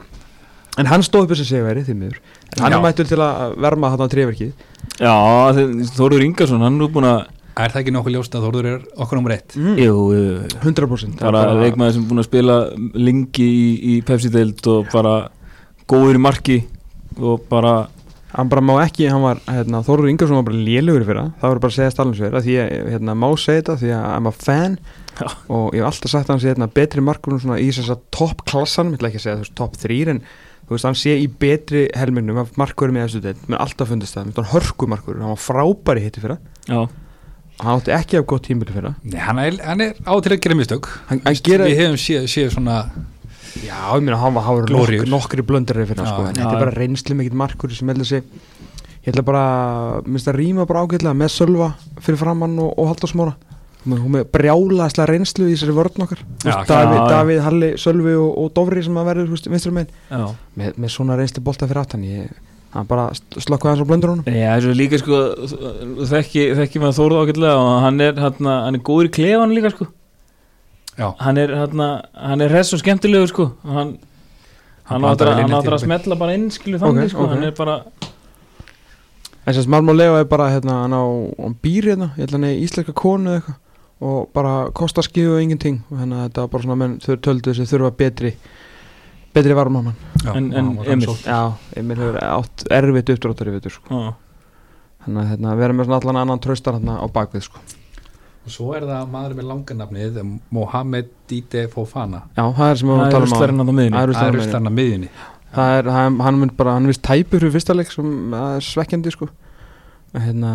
S2: en hann stóð upp þessi segveri því miður en hann
S3: Já.
S2: er mættur til að verma þarna á trefverkið
S1: Já, þeir- Þórður Ingarsson, hann er nú búin að
S3: er það ekki nokkuð ljóst að Þórður er okkur nummer eitt
S2: Mm.
S1: Jú, jú, jú
S2: 100%
S1: bara
S2: Það er bara-
S1: leikmaður sem er búin að spila lengi í, í Pepsi-deild og bara góður í marki og bara
S2: hann bara má ekki, hann var hérna, Þorður Ingersson var bara lélugur fyrir það það var bara að segja stalinsverð því ég hérna, má segja þetta því að I'm a fan
S1: Já.
S2: og ég hef alltaf sagt að hann sé hérna, betri markunum svona í þess að toppklassan ég ætla ekki að segja þú veist topp þrýr en þú veist hann sé í betri helminum af markurum í þessu deild, menn alltaf fundist það, menn hann hörkumarkur hann var frábæri hitti fyrir það
S1: já,
S2: og hann átti ekki af gott tímbili fyrir það
S3: Nei, hann er, hann er á til að gera mistök
S2: hann, hann gera,
S3: við hefum séð, séð svona
S2: já, ég meina hann var, hann var
S3: Glóríur.
S2: nok, nokkri blöndarið fyrir það
S3: Já,
S2: sko, en
S1: já,
S2: þetta er
S1: já.
S2: bara reynslu mikill markur sem heldur sig ég ætla bara, minnst að rýma bara ágætlega með Sölva fyrir framann og, og Haldarsmóra hún með brjálaðslega reynslu í þessari vörn okkar Þú veist,
S3: Já,
S2: Davíð,
S1: já, já.
S2: Davíð, Halli, Sölvi og, og Dofri sem að verður vinstur megin
S1: já.
S2: með, með svona reynslu bolta fyrir aftan ég, hann bara slokkaði hans á blöndur honum
S1: Já, þessu er líka sko þekki, þekki maður Þórð ágætlega og hann er, hann, hann er góður í klefan líka sko
S3: Já.
S1: hann er, hann, hann er hress og skemmtilegur sko og hann, hann
S3: blandar
S1: áttur
S3: vel
S1: að,
S3: inn í
S1: hann áttur að
S3: tímabil.
S1: smetla bara inn skilu þannig
S2: Ok,
S1: sko,
S2: ok.
S1: hann er bara
S2: en sem Malmó Leo er bara hérna, hann á hann býr hérna, ég held hann er íslenska konu eða eitthvað og bara kostar skifu og ingenting og hérna þetta var bara svona menn þau töldu þessi þurfa betri betri varmamann
S3: já,
S1: En-
S3: já,
S1: en
S3: hann var
S1: Emil?
S3: rannsókn.
S2: Já, Emil hefur átt erfitt uppdráttar í veitur sko.
S1: á,
S2: Þannig að hérna, vera með svona allan annan traustar hérna á bakvið sko.
S3: og svo er það maður með langanafnið Mohamed Dite Fofana
S2: Já, það er sem við
S1: hann
S2: vorum
S1: er
S2: að tala um á
S1: rústlarinn á það miðinni
S2: Það er
S3: það er
S2: ruslarinn
S3: rustarna miðjunni
S2: Það er, hann, hann mynd bara, hann vist tæpur fyrir fyrsta leik sem það er svekkjandi sko. En, hérna,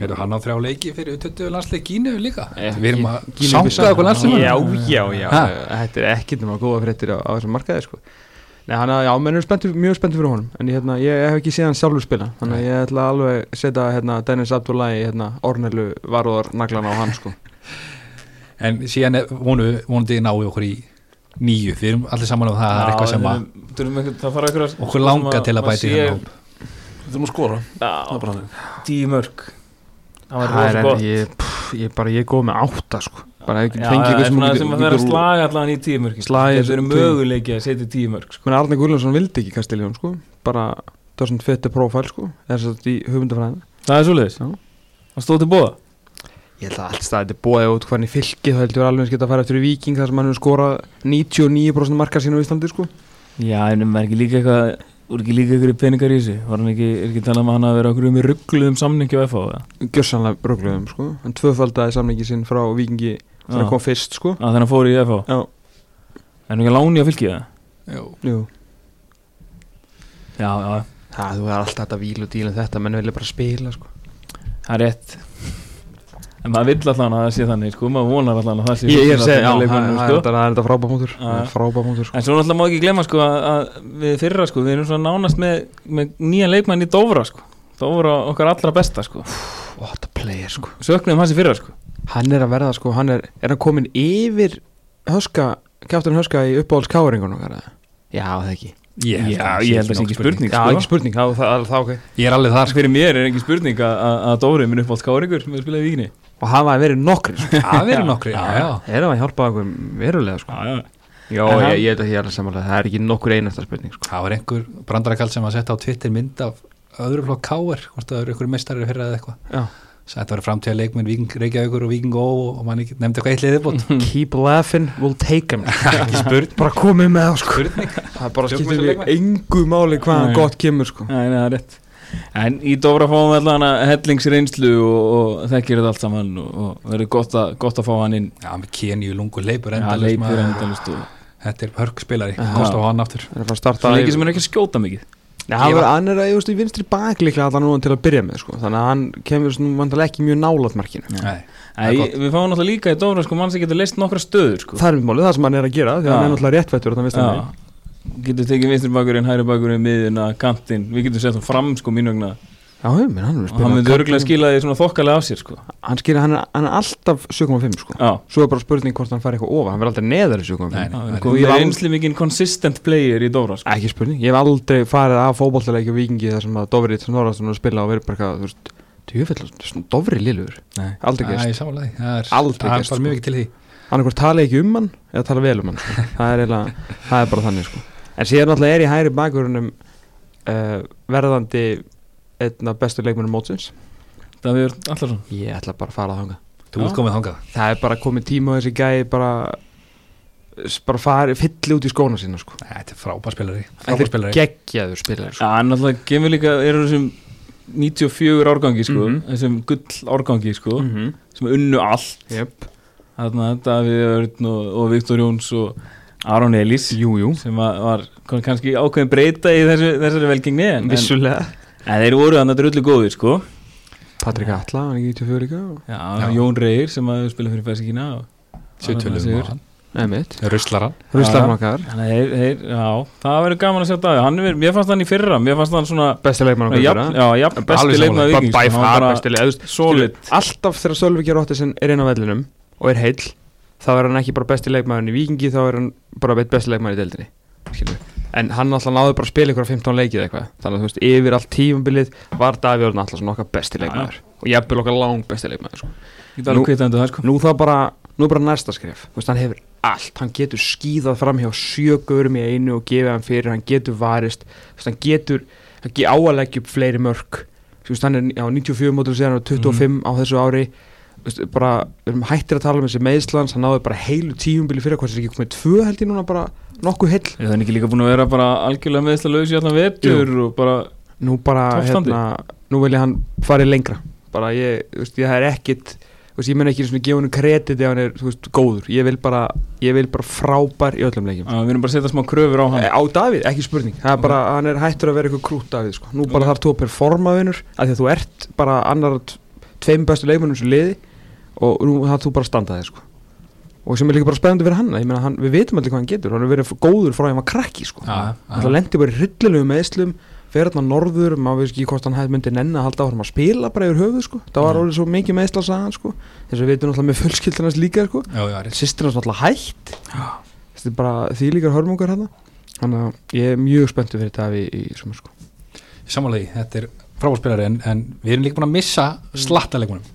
S3: Eru hann á þrjá leiki fyrir 20 landsleik Gínu líka?
S2: Eh,
S3: Við erum að
S2: Gínu-
S3: sanga
S2: Bissau.
S3: okkur landsleik
S2: Já, já, já
S3: Ha?
S2: Þetta er ekkit um að góða fréttir á, á þessum markaði sko. Nei, hann er, já, menn er spenntur, mjög spenntur fyrir honum En ég, hérna, ég hef ekki séð hann sjálfur spila Þannig að ég ætla alveg setja hérna, Dennis Abdullahi hérna, Ornelu varúðar naglana á hann sko.
S3: En síðan er- vonu, vonandi náu okkur í nýju Við erum allir saman um það að það er eitthvað sem að
S1: þurfum ekki- það fara eitthvað
S3: okkur langa til að bæti þennan hóp
S4: Þetta er nú skora Það er bara þannig.
S1: tíu mörg það var
S2: Það er
S1: rosa
S2: en
S1: gott
S2: ég, pff, ég bara, ég er góð með átta sko bara ef ég get
S1: Já, það
S2: fengið
S1: er
S2: ykkur sem
S1: svona
S2: hún
S1: sem
S2: getur-
S1: að það er að
S2: getur-
S1: slaga allan í tíu mörg
S2: Slaga í
S1: það eru
S2: tíu.
S1: möguleiki að setja tíu mörg sko.
S2: Ég meina, Arne Guðljónsson vildi ekki Kastiljón sko bara, það er svona fett profil sko þess að í hugmyndafræðina
S1: það er svoleiðis
S2: Já.
S1: það stóð til bóða
S2: ég held að allt staðið er bóðið út hvernig fylki þá heldur alveg eins geta að fara eftir í Viking þar sem hann hefur skorað 99% marka sína á Íslandi sko
S1: Já, en maður er ekki líka eitthvað voru ekki líka ykkur peningar í þessu var hann ekki, er ekki talað um að hann að vera okkur um í ruggluðum samningi á FH eða?
S2: gjörsanlega rögluðum sko hann tvöfaldaði samlingi sinn frá Vikingi þegar hann
S1: Já,
S2: kom fyrst sko
S1: að þannig fór í FH
S2: Já.
S1: En ekki að láni að fylgja það?
S3: Jú.
S2: Jú.
S1: Já, já,
S2: það þú er alltaf þetta víl og díl en þetta menn vilja bara spila sko
S1: það er rétt En maður vill allan að það sé þannig sko, maður vonar allan að það sé sko.
S2: ég er að
S1: þannig
S2: segja, já,
S1: að
S2: það
S1: leikmönnum,
S2: sko. það er þetta- það er þetta frábæmútur
S1: Já.
S2: frábæmútur
S1: En svo náttúrulega má ekki glemma sko að, að við fyrra sko, við erum svona nánast með, með nýja leikmann í Dófra sko Dófra okkar allra besta sko
S2: what a player sko
S1: Söknum hans í fyrra sko
S2: hann er að verða sko, hann er, er hann komin yfir höska, kjátturinn höska í uppáhalds káringun okkar eða? Já, það ekki
S3: Ég held
S1: Já,
S3: að það
S1: ég held að það
S3: sé
S1: sé
S3: nokkur
S1: ekki spurning
S2: Já,
S1: sko.
S2: ekki spurning, þá það, það, ok
S3: Ég er alveg þar sko.
S1: Fyrir mér er ekki spurning að- að að Dóri minn uppátt Káringur sem er spilað í Víkinni
S2: Og hafa verið nokkri, sko
S3: Það verður nokkri, já, já.
S2: Er það að hjálpa okkur verulega, sko
S1: já,
S2: Já,
S1: En hann-
S2: ég, ég held að ég er að samanlega Það er ekki nokkur einasta spurning, sko
S3: Það var einhver brandarakall sem að setja á Twitter mynd af öðru flokk káir, hvort það eru einhver mestarir fyrra eða eitthvað.
S2: Já.
S3: Sætt að vera framtíða leikmenn Víking Reykjavíkur og Víking Ó og mann ekki, nefndi eitthvað eitt liðið bótt.
S2: Keep laughing, we'll take them Hmm. Ekki spurning Bara komið með það, sko
S3: Spurning.
S2: Það bara
S3: Tökum
S2: skiptir
S3: þessa
S2: við
S3: leikmenn.
S2: engu máli hvaðan
S1: Nei.
S2: gott kemur, sko
S1: Nei, nei, það er rétt En í Dóra fáum við allan að hellingsreynslu og, og þekkir þetta allt saman og, og verður gott, að- gott að fá hann inn
S3: Já, með Kenju, Lungu, Leipur,
S1: að
S3: Endalus,
S1: leipir endalust og
S3: Þetta er hörgspilari,
S2: Já.
S3: kost á hann aftur.
S2: Það er að fara að starta
S1: svona
S2: ævi-
S1: ekki sem er ekki að skjóta mikið
S2: Nei, hann,
S3: Ég
S2: var,
S3: var-
S2: hann er að, ég veist, í vinstri bak líklega allan núna til að byrja með, sko Þannig að hann kemur svona vandalega ekki mjög nálat markinu
S1: Já.
S3: Nei,
S1: Æ,
S3: gott.
S1: Við fáum náttúrulega líka í Dóra sko mann sem getur leist nokkra stöður sko
S2: Það er mitt málið, það sem hann er að gera Því að
S1: Já.
S2: hann er náttúrulega réttvættur þannig að
S1: Já. Getur tekið vinstri bakurinn, hæri bakurinn, miðina, kantinn Við getum sett hann fram sko mín vegna
S2: Já, hei, minn, hann
S1: og
S2: er að spila
S1: hann
S2: á
S1: myndi örgulega
S2: kantinum.
S1: skila því svona þokkalega af sér sko
S2: hann, skilur, hann, er, hann er alltaf 7,5 sko
S1: Já
S2: Svo er bara spurning hvort hann fari eitthvað ofar Hann verður aldrei neðar í 7,5
S3: Nei,
S1: Það
S3: nei. það
S1: er
S3: er-
S1: sko, ég
S2: ég
S1: er
S2: var-
S1: einsli mikið consistent player í Dóra sko.
S2: Ekki spurning, ég hef aldrei farið af fótbollaleiki og vikingi þar sem að Dofri Snorrason er að spila og verið bara eitthvað, þú veist, djöfell, svona Dofri liður
S1: Nei.
S2: Aldrei
S3: það
S2: gerst,
S3: er samanlega, það er
S2: Aldrei
S3: það
S2: gerst,
S3: er bara
S2: sko.
S3: mjög ekki til því.
S2: hann eitthvað tala ekki um hann eða tala vel um hann, sko. það er eiginlega það er bara þannig, sko En síðan alltaf er í hægri bakurunum uh, verðandi einn af bestu leikmennum mótsins
S1: Davíð sko. Örn Allarsson
S2: Ég ætla bara að fara að hanga
S3: Þú ert
S1: Já.
S3: komið þangað.
S2: Það er bara komið tíma og þessi gæi bara bara fari, fylli út í skóna sína sko.
S3: Þetta er frábærspilari,
S2: Þetta er
S3: frábærspilari.
S2: geggjaður spilar sko.
S1: Já, en alltaf kemur líka, eru þessum 94 árgangi, sko,
S2: Mhm.
S1: þessum gull árgangi, sko,
S2: mm -hmm.
S1: sem unnu allt,
S2: yep.
S1: þarna Davíð Örn og, og Viktor Jóns og Aron Elís,
S2: Jú, jú,
S1: sem að, var kon- kannski ákveðin breyta í þessu, þessari velgengni, en, en,
S2: vissulega
S1: en þeir voru þarna drullu góðir, sko.
S2: Patrik Atla, hann er ekki 94 líka og-
S1: Já,
S3: Já.
S1: Jón Reyr, sem að spila fyrir Fæsikina og
S3: Svo tölum við
S1: Sigur.
S3: um hann.
S2: Nei mitt,
S3: Ruslaran.
S2: Rústlafn
S1: Já.
S2: okkar
S1: Þannig að þeir, þeir, já, það verður gaman að sjá Davíð, hann er, mér fannst hann í fyrra, mér fannst hann svona,
S2: Besti leikmann okkar
S1: jafn, já, jafn, besti leikmaður vikings,
S2: By
S1: sko, hann
S2: far
S1: var
S2: besti leikmann
S1: solid.
S2: Alltaf þegar Sölvi Geir Ottesen er inn á vellinum og er heill þá er hann ekki bara besti leikmann í vikingi þá er hann bara veit besti leikmann í deildinni Skilju. en hann alltaf náði bara að spila ykkur 15 leikið eða eitthvað þannig að þú veist yfir allt tífumbilið var Davíð Orðin alltaf svona okkar besti leikmaður og jafnvel okkar lang besti leikmaður sko.
S1: Ég get alveg
S2: Nú-
S1: kvittað undir það, sko.
S2: nú þá bara nú er bara næsta skrif þú veist hann hefur allt hann getur skýðað fram hjá sjögurum í einu og gefið hann fyrir hann getur varist þú veist hann getur hann ge á að leggja upp fleiri mörg þú veist hann er á 94 mótur síðan og 25 á þessu ári þú veist bara við erum hættir að tala um þessi meðslans hann náði bara heilu tíumbili fyrir hvort þessi ekki komið tvö held ég núna bara nokkuð heill
S1: Er hann ekki líka búin að vera bara algjörlega meðslalaus í allan vetur og bara
S2: nú bara
S1: Toppstandi.
S2: hérna, nú vil ég hann farið lengra bara ég, þú veist, ég það er ekkit þú veist, ég menn ekki svona gefa hann kredit ef hann er, þú veist, góður, ég vil bara ég vil bara frábær í öllum leikjum
S1: að við erum bara að setja smá kröfur á hann
S2: Eh, á Davíð, ekki spurning, það er bara hann er hættur að vera eitthvað krút Davíð, sko nú bara þarf þú að performa vinnur, af því að þú ert bara annar af t- tveim bestu leikmennum sem liði og nú þarf þú bara að standa þig, sko og sem er líka bara spennandi fyrir hann, ég meina hann, við vitum allir hvað hann getur, hann er verið góður frá því að hann var krakki, sko
S3: Já,
S2: Það lendi bara í hryllilegu meðslum fer hérna norður, maður veist ekki hvort hann hefði myndi nenni að halda áfram að spila bara yfir höfuð sko. það var
S3: Já.
S2: orðið svo mikið meðsla sagan sko. þess að við veitum náttúrulega með fullskildarnas líka sko.
S3: Já, já, rétt.
S2: sýstir hans náttúrulega hætt þetta er bara því líkar hörmungar hérna þannig að ég er mjög spenntu fyrir þetta í, í sumar sko.
S3: Samanlega, þetta er frábærspilari en, en við erum líka búin að missa slattaleikunum.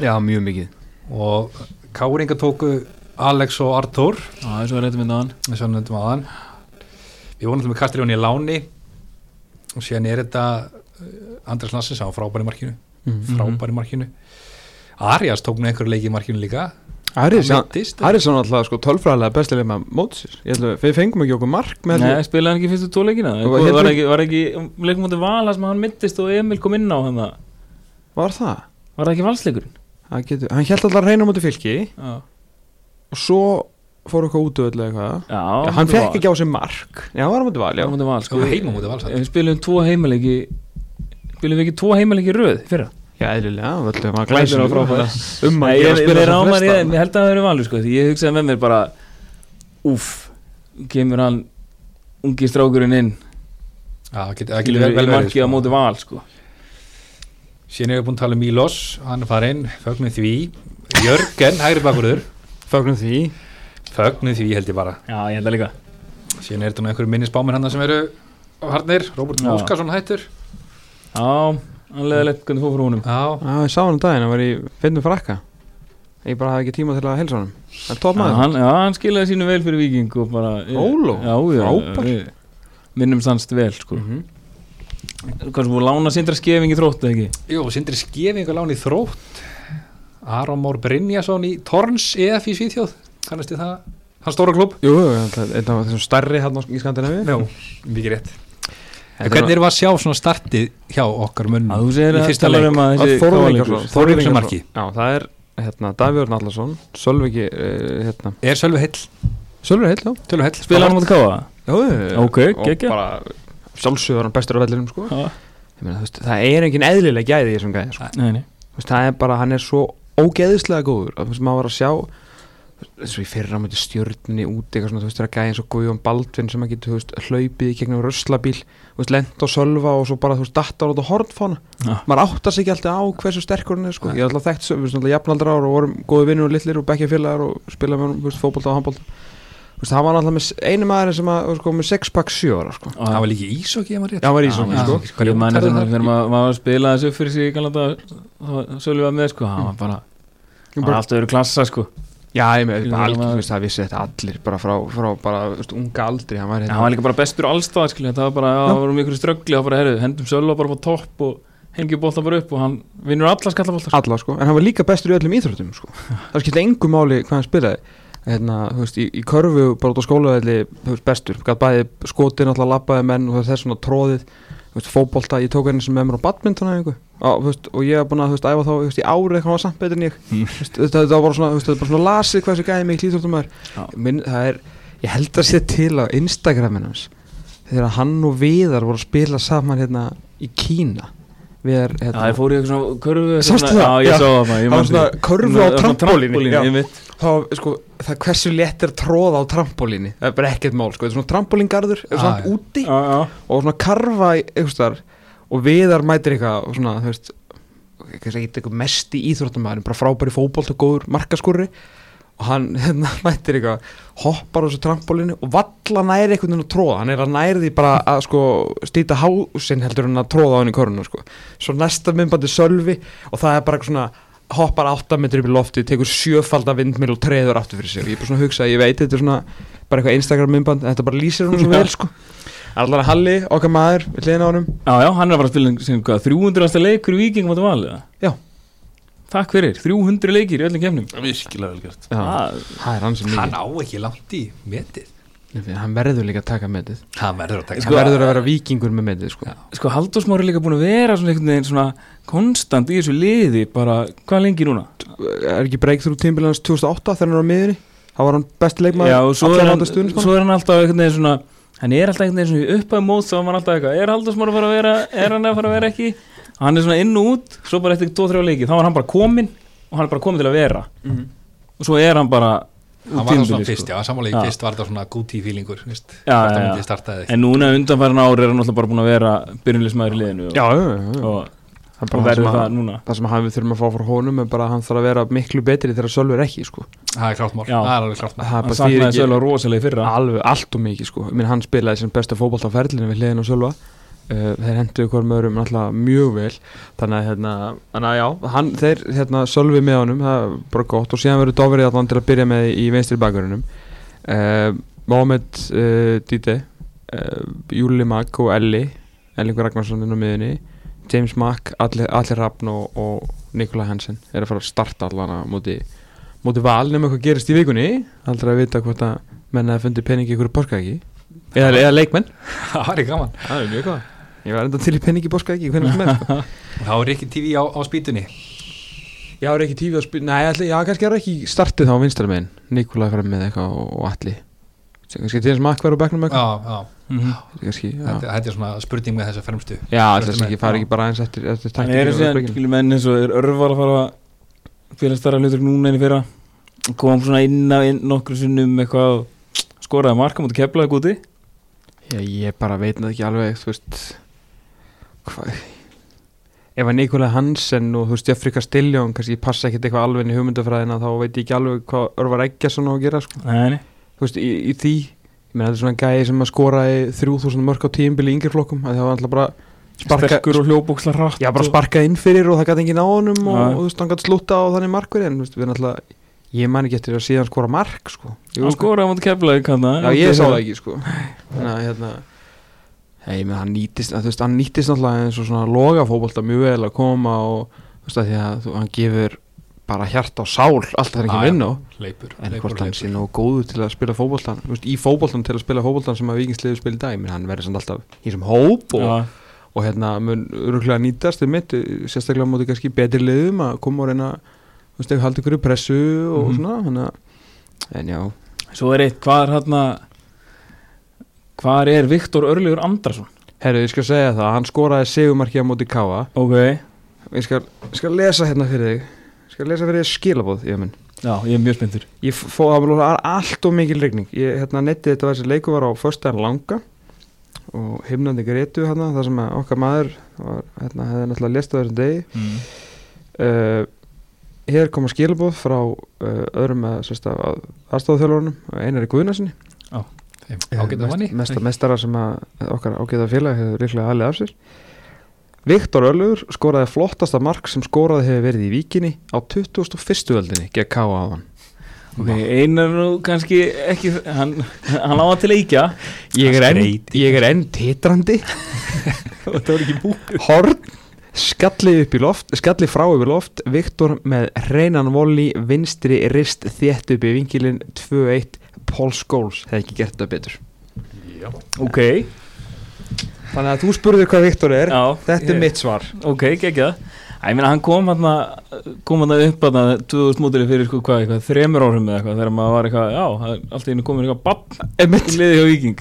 S2: já, mjög mikið
S3: og Káringa tóku Alex og hérna Artur
S1: Já, þessu var réttum inn á hann
S3: eins og nefndum aðan við vorum alltaf með Kastriðun í láni og síðan er þetta eh, Andrés Lassins á frábæri markinu
S2: Mhm.
S3: frábæri markinu Arias tók með einhverju leiki í markinu líka
S2: Aris,
S3: Hann meiddist.
S2: Aris er náttúrulega sko, tölfræðilega bestileg með mótsir ætla, við fengum ekki okkur mark með
S1: Nei, spilaði hann ekki fyrstu tóleikina
S2: Og
S1: var,
S2: hérna-
S1: var ekki, var ekki leikum átti vala sem hann mittist og Emil kom inn á hann það.
S2: var það
S1: Var það ekki valsleikurinn?
S2: Hann getur, hann held alltaf að reyna mútið fylki
S1: Já,
S2: og svo fór eitthvað út og eitthvað
S1: já
S2: Já, hann fekk ekki á sig mark Já, hann var á mútið val, já
S1: Hann átti val, sko
S3: Og heima á móti Val, samt.
S1: Við spilum tvo heimaleiki Spilum við ekki tvo heimaleiki í röð fyrir
S2: Já, eðlilega, völlum að
S1: Glæsir á frábæð
S2: Um að
S1: Nei,
S2: gera
S1: ég,
S2: spila
S1: ég,
S2: sem
S1: rámar,
S2: flesta.
S1: ég, ég held að það eru valur sko því ég hugsaði með mér bara úff, kemur hann ungi strákurinn inn
S3: Já, það getur
S1: skilur
S3: vel
S1: í
S3: verið,
S1: markið á
S3: sko.
S1: móti val sko
S3: síðan erum við búin að tala um Milos hann er farinn, fögnum því Jörgen, hægri bakurður
S2: Fögnum því
S3: fögnum því held ég bara
S1: Já, ég held að líka
S3: síðan er þetta nú einhverju minnisbáminn hann sem eru harnir, Róbert
S1: Já.
S3: Óskarsson hættur
S1: Já, hann leðilegt hvernig fór frá honum
S3: já,
S2: Já, ég sá hann um daginn, hann var í finnum frakka Ég bara hafði ekki tíma til að helsa honum Það er
S1: Já,
S2: top maður
S1: hann, já, hann skilaði sínu vel fyrir Víking og bara
S2: Óló,
S1: já, já,
S2: frábær.
S1: við Minnum sannst vel sko
S2: Mhm.
S1: Kannski búið að lána sindra skefing í þrótt eða ekki
S3: jú, sindri skefing og lán í þrótt Aron Mór Brynjason í Torns EF í Svíþjóð, kannast þið það hann stóra klub,
S2: Jú, jú, ég ætla- einn af þessum stærri hann í Skandinavíu
S3: já, mikið rétt en hvernig erum við að sjá svona startið hjá okkar
S2: Mm.
S3: munn
S1: Að þú segir
S3: Í
S1: að
S3: fyrsta
S1: tala
S3: leik.
S1: um að
S2: Að
S1: þessi
S2: Þórður
S1: káleikur.
S2: Ingason,
S3: Þórður
S2: Ingason.
S3: Ingason marki.
S2: Já, það er hérna, Davíður Nallarsson Sölviki, uh, hérna
S3: er Sölvi Hill,
S2: Sölvur heill, já
S3: Sölvi Hill
S1: Spila hann á móti káa
S2: Já, já, já.
S1: Ok,
S2: Og
S1: geggja.
S2: bara sjálfsögur hann bestur á vellinum sko.
S1: Já.
S2: Ég meina, þú veist, það er engin eðlileg gæði í þessum gæði sko.
S1: Nei, nei
S2: Þú veist, það er bara, hann er svo ógeðislega góður að þú veist, maður var að sjá eins og í fyrra á mæti stjörnunni út eitthvað svona, þú veist, það er gæði eins og Guðjón Baldvin sem að geta, þú veist, hlaupið í gegnum röslabíl þú veist, lent og sölva og svo bara, þú veist, dattar út á hornfána
S1: Já.
S2: maður áttar sig ekki alltaf á hversu sterkur hann er, sko, ég er alltaf þekkt, svo- við erum alltaf jafnaldra og vorum góði vinnur og litlir og bekkjafélagar og spila með honum, þú veist, fótbolta og handbolta þú veist, það var alltaf með einu maður sem að, sko, með 6-pack 7 ára, sko
S1: Og-
S3: hann var líka í Ísokki, ef maður rétt
S2: Já, hann var í
S1: Já,
S2: ísóki,
S1: já,
S2: sko
S1: sko, ég man eftir þegar maður maður var að spila þessu fyrir sig í kannada Sölvi var með sko, hann var bara
S2: Ég
S1: hann
S2: bara-
S1: var alltaf öðru klassa sko
S2: Já, ég með,
S1: Ég
S2: bara
S1: meina,
S2: algjör,
S1: maður-
S2: þú veist, það vissi þetta allir bara frá, frá bara, þú veist, unga aldri hann var
S1: Já,
S2: hérna
S1: hann var líka bara bestur allstað skilja, það var bara, já, það var um ykkur ströggli þá bara, herru, hendum Sölva bara på topp og hengjum bolta bara upp og hann vinnur alla skallabolta sko.
S2: alla, sko, en hann var líka bestur í öllum íþróttum, sko það skipti engu máli hvað hann spilaði hérna, þú veist, í, í körfu bara út á skólaðalli, þú veist, bestur gæt bæði skotin, alltaf labbaði menn og þess svona tróðið, þú veist, fótbolta ég tók henni sem með mér á badminton eða einhver á, þú veist, og ég var búin að, þú veist, æfa þá, þú veist, í árið hann var samt betur en ég,
S1: Mm.
S2: þú veist, þetta þetta var bara svona, þú veist, þetta er bara svona lasið hversu gæði mig
S1: Já.
S2: klíþróttum maður Minn, það er, ég held að sé til á Instagramin hans þegar hann og Viðar voru að spila saman hérna í Kína Viðar,
S1: Já, það
S2: hérna,
S1: fór í eitthvað svona körfu
S2: Sástu
S1: svona-
S2: það?
S1: Já,
S2: Já.
S1: ég sá það maður, ég man
S2: það var svona
S1: því.
S2: körfu á
S1: Svona- svona
S2: trampolíni já.
S1: trampolíni, einmitt.
S2: þá, sko, það er hversu létt er að tróða á trampolíni það er bara ekkert mál, sko, þetta er svona trampolíngarður ah,
S3: Ah,
S2: samt
S3: já.
S2: úti
S1: Já, já.
S2: og svona karfa í- einhvers staðar, og viðar mætir eitthvað og svona, þú veist kannski ekki eitthvað mest í íþróttamæðin bara frábæri fótbolt og góður markaskurri og hann hérna, mætir eitthvað hoppar á þessu trampolínu og valla næri einhvern veginn að tróða, hann er að næri því bara að sko stýta hásinn heldur hann að tróða á hann í korunum sko svo næsta myndbandi sölvi og það er bara eitthvað svona hoppar 8 metri upp í lofti, tekur sjöfalda vindmil og treður aftur fyrir sig og ég er bara svona að hugsa, ég veit þetta er svona bara eitthvað Instagram myndband, en þetta bara lýsir hún svo vel sko allar að Halli, okkar maður, við hliðin á honum
S1: já, já, hann er bara að spila um- sem, hvað, 300. leikur í Víking mátu valið
S2: Já.
S1: Takk fyrir, 300 leikir í öllum kemnum
S4: virkilega vel gert
S2: Já,
S1: Það-
S2: það er hann sem
S3: hann
S2: mikið
S3: á ekki langt í metið
S2: Nei, Hann verður líka að taka metið
S3: hann verður að taka
S1: Sko,
S2: Hann verður að vera vikingur með metið sko.
S3: Já.
S1: Sko, Halldór Smári er líka búin að vera svona einhvern veginn svona konstant í þessu liði bara, hvað lengi núna?
S2: Er ekki breakthrough tímbilans 2008 þegar hann var á miðunni Það var hann besti leikmaður
S1: Já, og svo er,
S2: allra
S1: hann,
S2: landa stuðningsmanna.
S1: svo er hann alltaf einhvern veginn svona hann er alltaf einhvern veginn svona upp að mót þá er hann alltaf eitthvað, er Halldór Smári að fara að vera er hann að fara að vera ekki hann er svona inn og út, svo bara eftir 2-3 leiki þá var hann bara kominn og hann er bara kominn til að vera
S2: Mhm.
S1: og svo er hann bara
S3: hann var það
S1: tímabilið,
S3: svona
S1: sko.
S3: fyrst, já, samanlega
S1: Já.
S3: í fyrst var það svona gúti fílingur, veist,
S1: Já,
S3: hvort
S1: já,
S3: það
S1: já.
S3: myndi startaði ekki
S1: En núna undanfæran ári er hann alltaf bara búin að vera byrjunleismæður í liðinu og,
S2: Já, já, já, já.
S1: og,
S2: Það er
S1: og
S2: bara það
S1: verður
S2: sem,
S1: það,
S2: að,
S1: núna
S2: það sem að við þurfum að fá frá honum er bara að hann þarf að vera miklu betri þegar Sölvi er ekki sko.
S3: það er klárt mál,
S1: Já.
S3: það er alveg klárt mál
S2: Það er
S1: Hann
S2: bara því
S1: saknaði
S2: ekki
S1: Sölva rosalega í fyrra
S2: alveg allt og mikið sko. Minn, hann spilaði sem besta fótbolt á ferlinu við hliðin á Sölva uh, þeir henduðu hver með öðrum náttúrulega mjög vel þannig að, hérna, þannig að já hann, þeir hérna, Sölvi með honum það er bara gott og síðan verður Dofrið allan til að byrja með í vinstri bakverunum uh, Mohamed uh, Dite uh, Júli Mag og Elli Ellingur Ragnarsson inn á miðunni James Mack, Alli, Alli Rafn og, og Nikola Hansen er að fara að starta allan á móti, móti val nema eitthvað gerist í vikunni aldrei að vita hvort að menn að fundi peningi ykkur borskæki eða, eða leikmenn
S3: það er gaman,
S2: það er mjög góð ég var enda til í peningi borskæki hvernig sem er sko.
S3: þá er ekki TV á, á spýtunni
S2: já, er ekki tífið að spila nei, ætli, já, kannski er ekki startið þá á vinstramenn Nikola fram með eitthvað og, og alli Sem kannski til þess makk verður á bekknum
S3: já,
S2: eitthvað
S3: já,
S1: Mhm.
S2: kannski, já,
S3: þetta, þetta er svona spurning með þessa fremstu
S2: já ætli þess
S3: Þetta
S2: ekki
S3: er-
S2: fara ekki bara eins eftir, eftir
S1: Hann er
S2: taktíkinni og
S1: síðan,
S2: leikbrökinni.
S1: skilur menn eins og er örvar að fara félagstæra hlutur núna en í fyrra kom svona inn af inn nokkru sinnum eitthvað og skoraði marka mútið keflaði gúti
S2: Já, ég bara veit náttúrulega ekki alveg, þú veist hvað ef að Nikolaj Hansen og þú veist Jeffrey Castillion kannski passa ekkert eitthvað alveg inn í hugmyndafræðina þá veit ég ekki alveg hvað Örvar Eggjason á að gera sko.
S1: Nei, nei
S2: þú veist, í, í því ég meina þetta er svona gæi sem að skora í 3000 mörg á tíumbili í yngri flokkum að það var alltaf bara sparka,
S1: Sterkur og hljóbúksla hratt
S2: já, bara
S1: og-
S2: sparkað inn fyrir og það gæti enginn á honum og,
S1: Já.
S2: og þú veist, hann gæti slúta á þannig markverði en þú veist, við erum alltaf, ég man ekki eftir að síðan skora mark, sko
S1: Hann skoraði á móti Keflavík hérna. hann
S2: Já, ég sá það ekki, sko Þannig að, hérna hei, menn, hann nýtist, að, þú veist, hann nýtist náttúrulega eins og svona loga fótbolta mjög vel að koma og, þú veist, að því að þú, hann gefur bara hjarta og sál allt það er ekki
S3: Já, já.
S2: vinn á
S3: leipur,
S2: en
S3: leipur,
S2: hvort hann sé
S3: leipur.
S2: nógu góður til að spila fótboltan veist, í fótboltan til að spila fótboltan sem að vikingsliðu spila í dag menn hann verður samt alltaf í sem hóp og,
S1: Já,
S2: og hérna mun öruglega nýtast um mitt, sérstaklega á móti kannski betri liðum að koma og reyna þú veist, ef haldi ykkur í pressu og
S3: Mhm.
S2: svona hana, en já,
S1: Svo er eitt, hvað er hann Hvar er Viktor Örljur Andrason?
S2: herru, ég skal segja það hann skoraði segumarki á móti Káa
S1: Ok,
S2: ég skal, ég skal lesa hérna fyrir þig ég skal lesa fyrir þig skilabóð, ég minn
S1: já, ég er mjög spenntur
S2: Ég f- fóð að vera allt og mikil regning Ég hérna netti þetta var þessi leiku var á Föstaðan langa Og himnandi grétu hérna þar sem að okkar maður var, hérna, hefði náttúrulega lest á þessum degi
S1: mm.
S2: uh, Hér koma skilabóð frá uh, öðrum að, sérst, að aðstofþjálfurunum Einari Guðnarsinni
S3: Þeim ágæta manni
S2: Mesta mestara sem að okkar ágæta félag hefur líklega alveg af sér Viktor Öllur skoraði flottasta mark sem skoraði hefur verið í víkinni á 21. öldinni gegn K.A. áðan
S1: Ok, einar nú kannski ekki Hann, hann á að til eikja
S2: Ég er, enn,
S3: Skreyting.
S2: ég er enn titrandi
S1: Þetta var ekki búk
S2: Horn Skallið upp í loft Skallið frá upp í loft Viktor með reynan voli Vinstri rist þétt upp í vingilin 2-1 Paul Scholes Hefði ekki gert það betur
S1: Ok,
S2: Þannig að þú spurður hvað Viktor er
S1: já
S2: Þetta
S1: ég-
S2: er mitt svar
S1: Ok, geggjað Æ, ég meina, hann kom hann kom hann upp hann 2000 mótili fyrir sko hvað, eitthvað, þremur árum eða eitthvað þegar maður var eitthvað, já, það er allt í einu komin eitthvað bapp
S2: Einmitt.
S1: í liði hjá Víking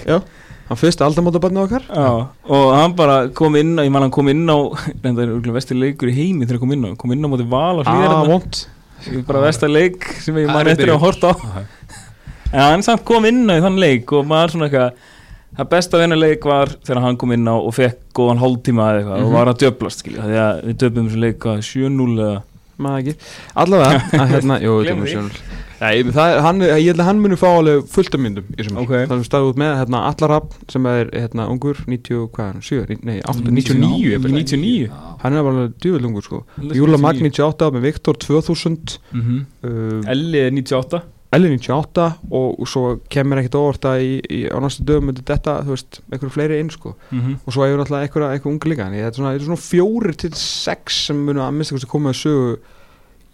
S2: Hann fyrst aldamótabarnið okkar
S1: Já, og hann bara kom inn á, ég man hann kom inn á reynda er örgulega vestir leikur í heimi þegar hann kom inn á, kom inn á móti val á
S2: Ah,
S1: hlýðar
S2: vont
S1: bara vestar leik sem ég
S3: Það
S1: man
S3: er
S1: eftir að
S3: byrjun.
S1: horta á
S3: Aha.
S1: en hann samt kom inn á í þann leik og maður svona eitthvað það besta vennuleik var þegar hann kom inn á og fekk góðan hálftíma eða eitthvað
S2: Mhm.
S1: og var að döblast skilja, því að við döblum þessu leik hvað, 7-0 eða
S2: Maður ekki Allavega að hérna, Jú, þetta er
S1: Gleymdi
S2: mjög
S1: því.
S2: sjónul Nei, það, er- hann, ég held að hann muni fá alveg fullt af myndum í sumar.
S1: Ok.
S2: Það er stafið út með hérna, Allarab sem er hérna, ungur 90, og hvað er hann, 7, nei, 8, 99 ég veit.
S1: 99
S3: Já.
S2: Hann er bara djúvel ungur sko Júla Magn 98 með Viktor 2000
S1: mm
S3: Mhm.
S2: uh,
S1: Elli er 98
S2: Elli 98 og, og svo kemur ekkert óvart að í, í, á næstu dögum myndi þetta, þú veist, einhverju fleiri inn sko
S1: mm -hmm.
S2: og svo hefur náttúrulega einhverja einhver unga líka þannig að þetta er svona, þetta er svona fjórir til sex sem munu að minnst eitthvað koma að sögu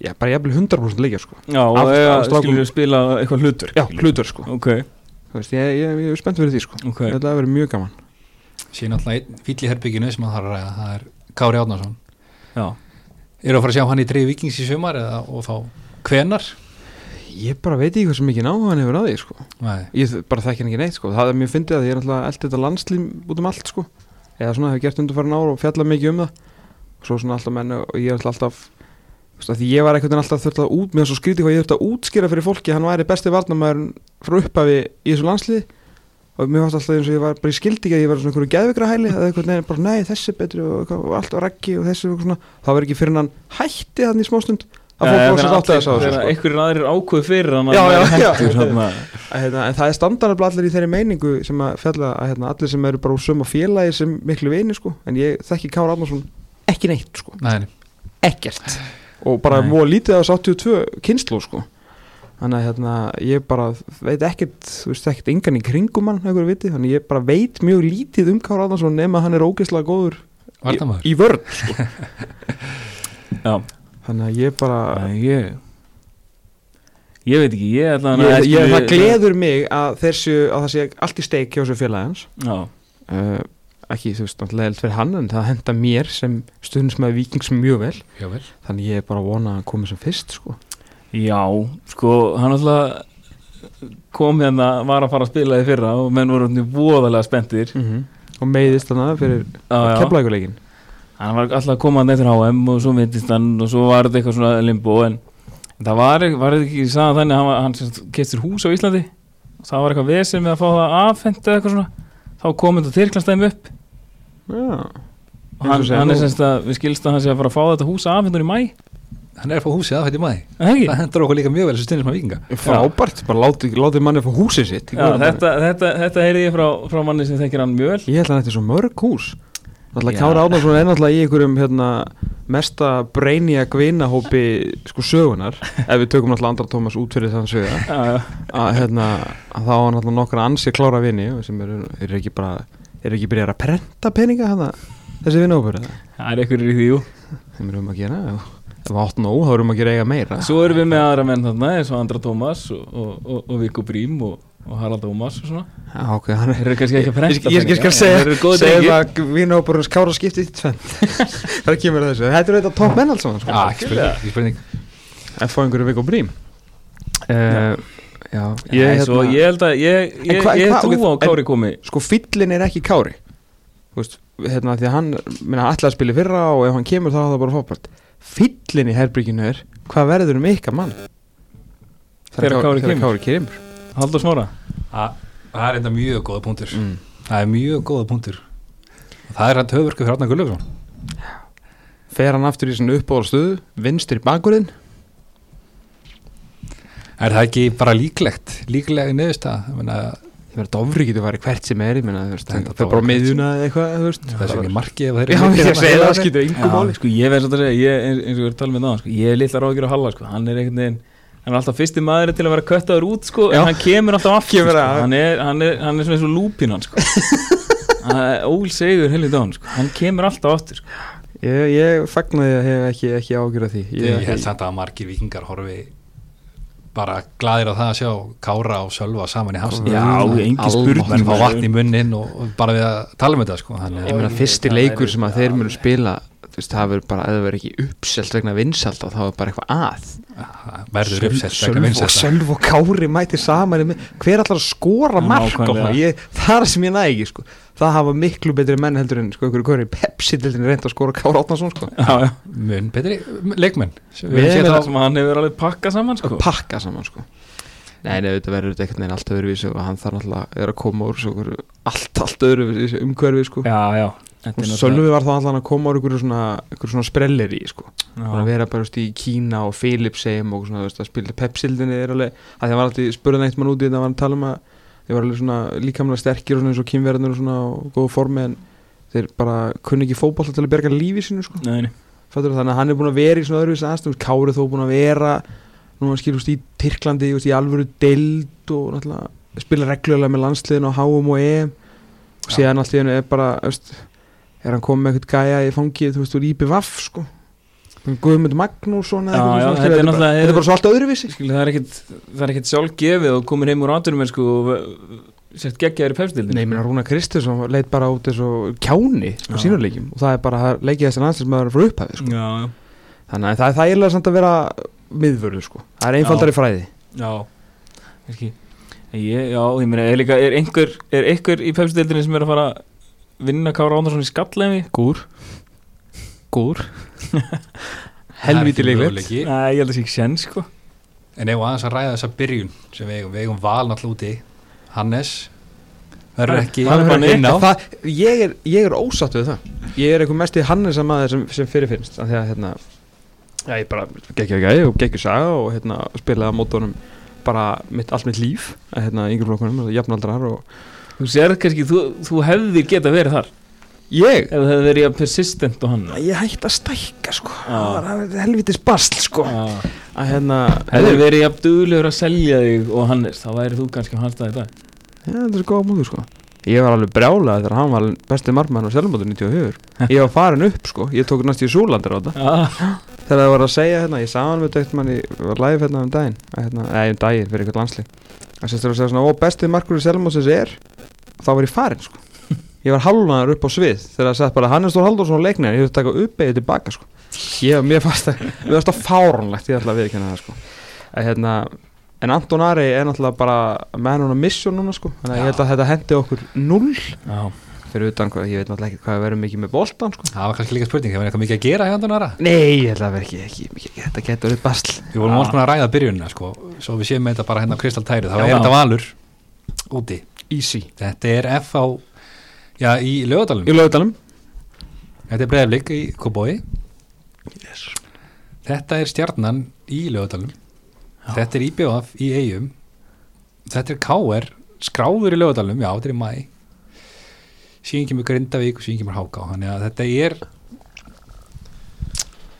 S2: já, bara jafnvel 100% leikja sko
S1: Já, og
S2: Af- af
S1: það
S2: strákum.
S1: skilur við spila eitthvað hlutverk
S2: Já, hlutur sko
S1: Ok,
S2: Þú veist, ég, ég, ég er spennt fyrir því sko
S1: ok
S2: Þetta hefur verið mjög gaman
S3: sé náttúrulega einn fýll í herbygginu sem að það er að ræða, það er Kári Átnarsson
S1: Já,
S3: eru að fara að sjá hann í dreif vikings í sumar eða, og þá hvenar
S2: Ég bara veit ekki hvað sem mikið náhugan hefur að því sko
S3: Nei.
S2: Ég þ- bara þekki hann ekki neitt sko Það er mjög fyndið að ég er náttúrulega eldi þetta landslím út um allt sko Eða svona hefur gert undarfæran ár og fjallað mikið um það Svo svona alltaf menn og ég er náttúrulega alltaf þú veist, af Því ég var einhvern veginn alltaf þurft að út Mér var svo skrítið hvað ég þurft að útskýra fyrir fólki að Hann væri besti varnamæður frá upphafi í þessu landsliði Og mér fannst alltaf eins og ég var bara í skildi ekki að ég var svona einhverju geðvikra hæli eða einhvern veginn bara nei þessi er betri og, eitthvað, og allt var ekki og þessi og eitthvað svona það var ekki fyrir hann hætti þannig í smástund að fólk
S1: Nei,
S2: var svo
S1: þegar
S2: sátt að þessu
S1: allir-
S2: sko.
S1: þegar einhverjir aðrir ákveð fyrir hann
S2: Já, já, já.
S1: já
S2: Að, hérna, en það er standardabla allir í þeirri meiningu sem að fjalla að hérna, allir sem eru bara úr sömu félagi sem miklu vini sko en ég þekki Kára Adnarsson ekki neitt sko
S3: Nei.
S2: ekkert og bara
S1: Nei.
S2: móa lítið á þessu 82 kynslu sko þannig að hérna, ég bara veit ekkert þú veist ekkert engan í kringum hann einhverju viti þannig ég bara veit mjög lítið um Kára Adnarsson nema að hann er ógeðslega góður í,
S3: Varnamaður.
S2: í vörn sko.
S1: Já,
S2: þannig að ég bara
S1: Nei, ég Ég veit ekki, ég ætla hann
S2: ég, ég, það gleður mig að þessu að það sé allt í steik hjá þessu félagi hans
S1: Já,
S2: uh, ekki þú veist náttúrulega eld fyrir hann en það henda mér sem stundismæði vikings mjög vel
S3: Já, vel.
S2: þannig ég er bara að vona að hann komi sem fyrst sko.
S1: já, sko, hann alltaf kom hérna, var að fara að spila í fyrra og menn voru hann voðalega spenntir
S2: og meiðist hann aða fyrir
S1: Já, Mhm. Mm. já.
S2: keflækuleikin
S1: hann var alltaf að koma hann eftir HM og svo myndist hann og svo var þetta eitthvað svona limbo en það var, var ekki sagði þannig að hann, var- hann kestir hús á Íslandi það var eitthvað vesir með að fá það afhent eða eitthvað svona þá kom þetta Tyrklandstæmi upp
S2: já,
S1: og hann,
S2: Eins og segja
S1: hann er
S2: nú.
S1: semst að við skilst að hann sé að fara að fá þetta hús afhendur í mæ
S3: hann er frá húsið aðfætt í maði
S1: Það ekki?
S3: það hendur okkur líka mjög vel þessu stundin sem að vikinga
S2: frábært, bara látið láti manni fá húsið sitt
S1: Já, þetta, þetta, þetta heyrði ég frá, frá manni sem þekkir hann mjög vel
S2: Ég held að þetta er svo mörg hús Náttúrulega
S1: Já.
S2: Kára Árnason er náttúrulega í einhverjum hérna, mesta breyni að gvinahópi sko sögunar ef við tökum náttúrulega Andra Tómas út fyrir þann sögja
S1: Já, já.
S2: að hérna, að þá er náttúrulega nokkra ansi klára vini sem eru er ekki bara eru ekki byrjar að prenta peninga hana, þessi vinahópur eða?
S1: það er einhverjir í því, jú
S2: þeim eru um að gera já. ef við átt nóg þá erum að gera eiga meira
S1: Svo erum við með aðra menn þarna eins og Andra Tómas og, og, og, og Viggo Brím og, og Harald Ómas og svona
S2: já, ok, hann er
S1: Þeir eru kannski ekki að prenta
S2: Ég, ég, ég skal
S1: Þeir
S2: segja,
S1: eru góð
S2: segja
S1: drengir
S2: að vinahópur hans Kára skipti í tvenn það kemur að þessu, þetta er þetta topp menn alls saman, sko.
S3: Já, ekki spurning, ekki spurning
S2: F.O. einhverju Viggo Brím uh, Já,
S1: Ég,
S2: hérna-
S1: svo, ég held að ég, ég,
S2: En hvað-
S1: ég
S2: hvað-
S1: trú á
S2: ok, en-
S1: Kári komi
S2: Sko fyllin er ekki Kári Þú veist, hérna, Því að hann minna, ætlaði að spila í fyrra og ef hann kemur þá er það bara fótbart Fyllin í herbríkinu er hvað verður um ykkar mann
S1: Þegar Kári
S2: þegar
S1: kemur.
S2: Kári kemur
S1: Haldur Smára
S3: Það það er enda mjög góða punktur
S2: mm.
S3: Það er mjög góða punktur Og Það er hann höfverku fyrir Arnar Gullöfsson
S2: Fer hann aftur í svona uppbóðarstöðu vinstri bakurinn
S3: Er það ekki bara líklegt, líklega neðust að
S2: Ég verður dofri getur farið hvert sem er ég meina, þú veist,
S3: Þetta
S2: Það er bara á
S3: Dofri-
S2: miðjuna eða eitthvað þú veist.
S3: þessi ekki marki ef þeir
S2: Já,
S3: eru mikið hérna.
S2: ég
S3: þarna.
S2: segi það skýtur
S1: Já,
S2: yngum máli
S1: sko, ég verð svolítið að segja, ég, eins, eins og ég er að tala með það sko, ég er litla ráðgjur á Halla sko, hann er einhvern veginn hann er alltaf fyrsti maður til að vera köttaður út sko,
S2: Já.
S1: en hann kemur alltaf aftur
S2: Kemur
S1: sko,
S2: að-
S1: hann, er, hann, er, hann er svona eins og lúpin hann sko. Hann er ólsegur heilu dán sko. hann kemur alltaf aftur sko.
S2: Ég, ég fagnaði að hef ekki, ekki ágjur því
S3: Ég held samt að margir vikingar horfi bara glaðir á það að sjá Kára og Sölva saman í hafsum
S1: Já, engin spurning.
S3: menn fá vatn í munnin og, og bara við að tala með það sko. Þannig,
S2: Ég meina fyrsti leikur sem að þeir munu spila þú veist, það verður bara, ef það verður ekki uppselt vegna vinsalt þá er bara eitthvað að
S3: að verður uppsett vegna
S2: Sölv og,
S3: vinsælda.
S2: Sölv og Kári mæti saman í mið- hver allar að skora
S1: Já,
S2: mark á
S1: nákvæmlega.
S2: það ég, það er sem ég næ ekki sko. það hafa miklu betri menn heldur en sko, ykkur hverju pepsi heldur en reynda að skora Kári Átnason sko.
S1: já, já.
S3: mun betri leikmenn sem
S2: Við
S3: við
S2: erum
S3: hérna- séum
S1: það
S3: þá
S1: sem hann hefur alveg pakkað saman sko.
S2: pakka saman sko. nei, nei, þetta verður þetta einhvern veginn allt öðruvísi og hann þarf alltaf er að koma úr svo, einhverju- allt, allt öðruvísi umhverfi sko.
S1: já, já Þetta er náttúrulega-
S2: Sölvi var þá allan að koma úr ykkur svona, ykkur svona sprelleri sko. bara að
S1: Já.
S2: vera bara þú veist, í Kína og Philipsheim og svona, þú veist, að spila pepsildinni er alveg, að því að var alltaf spurðan eitt mann út í þetta var að tala um að þeir var alveg svona líkamlega sterkir og svona eins og kynverðnir og svona og góðu formi en þeir bara kunni ekki fótball til að berga lífi sínu sko,
S1: Nei, nei.
S2: fattur þannig að hann er búin að vera í svona öðruvísa aðstum, Kári þó búin að vera núna skilur þú veist, í Tyrklandi þú veist, í alvöru deild og náttúrulega spila reglulega með landsliðin og HM og EM og
S3: Já.
S2: síðan alltaf er bara þú veist, er hann komið með eitthvað gæja í fangið þú veist úr IBVF sko Guðmund Magnússon eða
S1: Já, já,
S2: eitthvað svona,
S1: þetta
S2: skilur,
S1: er
S2: bara-
S1: náttúrulega-
S2: þetta er bara svo allt öðruvísi
S1: Skilur, það er ekkit það er ekkit sjálfgefið og komir heim úr áttunum en sko, sért geggjaður í pefstildin
S2: Nei, minna Rúna Kristinsson leit bara út eins og kjáni á
S1: Já.
S2: sínuleikjum og það er bara það er leikið þessi landslismæður frá upphafi sko.
S1: já, já
S2: þannig að það er þægilega samt að vera miðvörðu sko, það er einfaldari fræði
S1: Já, ekki ég, Já, ég meina, er líka, er einhver er einhver í pepsdeildinni sem er að fara að vinna Kára Ándarsson í skallefi?
S2: Gúr Gúr
S3: Það
S2: Helvíti
S3: er ekki
S2: leiklegt
S3: möguleiki.
S1: Nei, ég held að sé ekki sen, sko
S3: en ef aðeins að ræða þessa byrjun sem við eigum, við eigum val náttúrulega úti Hannes
S1: Hann-
S3: verður ekki
S1: hann er bara
S3: verður inn á
S2: það, ég, er, ég er ósatt við það Ég er eitthvað mest í Hannes að maður sem, sem fyrirfinnst af því að hérna Já, ég bara geggjur gæði og geggjur saga og hérna spilaði á mótunum bara mitt, allt mitt líf að, hérna yngur flokkunum, jafnaldrar og
S1: Þú sér kannski, þú, þú hefðir geta verið þar
S2: ég,
S1: ef það hefði verið jafn persistent og hann
S2: ég hætti að stækka sko,
S1: Já.
S2: það var- það var helvitis basl sko
S1: Já.
S2: að hérna,
S1: Hefðir verið jafn duglegur að selja þig og Hannes, þá væri þú kannski á hans stað í dag
S2: Já, þetta er góða mútu sko Ég var alveg brjálað þegar hann var besti margmann á sjálfmótu 94 Ég var farin upp sko, ég tók næst í súlandir á þetta
S1: Já,
S2: Þegar það var að segja hérna, ég sá hann við dætt mann í var live hérna um daginn að, hérna, Nei, um daginn fyrir eitthvað landslík Það sést þér að segja svona, ó, bestið markur í Selmósins er Þá var ég farin sko Ég var halvaðar upp á svið Þegar það sett bara Hannes Þór Halldórsson og leiknir Ég höfði taka uppeyði tilbaka sko Ég, mér fannst það, mér fannst það fáránlegt Ég ætla að viðkynna það sko að, hérna, En Anton Ari er náttúrulega bara Man on a mission núna sko Þannig að ég held að þetta hendi okkur null
S1: já,
S2: Fyrir utan hvað, ég veit náttúrulega ekki hvað við verum mikið með boltan sko
S3: það var kannski líka spurning, það var eitthvað mikið að gera hjá Antonara
S2: Nei, ég held að vera ekki, ekki, ekki, þetta getur við basl
S3: við vorum alls konar að ræða byrjunina sko, svo við séum með þetta bara hérna á kristaltæri
S1: Já,
S3: það var
S1: já.
S3: þetta valur úti
S2: Easy
S3: þetta er F á já, í lögadalum
S2: Í lögadalum
S3: Þetta er breyðaflik í Kobói Þetta er stjarnan í lögadalum Þetta er IBF í eigum Þetta er KR skráður í lögadalum, já þetta er í mæ síðan kemur Grindavík og síðan kemur Háká þannig að þetta er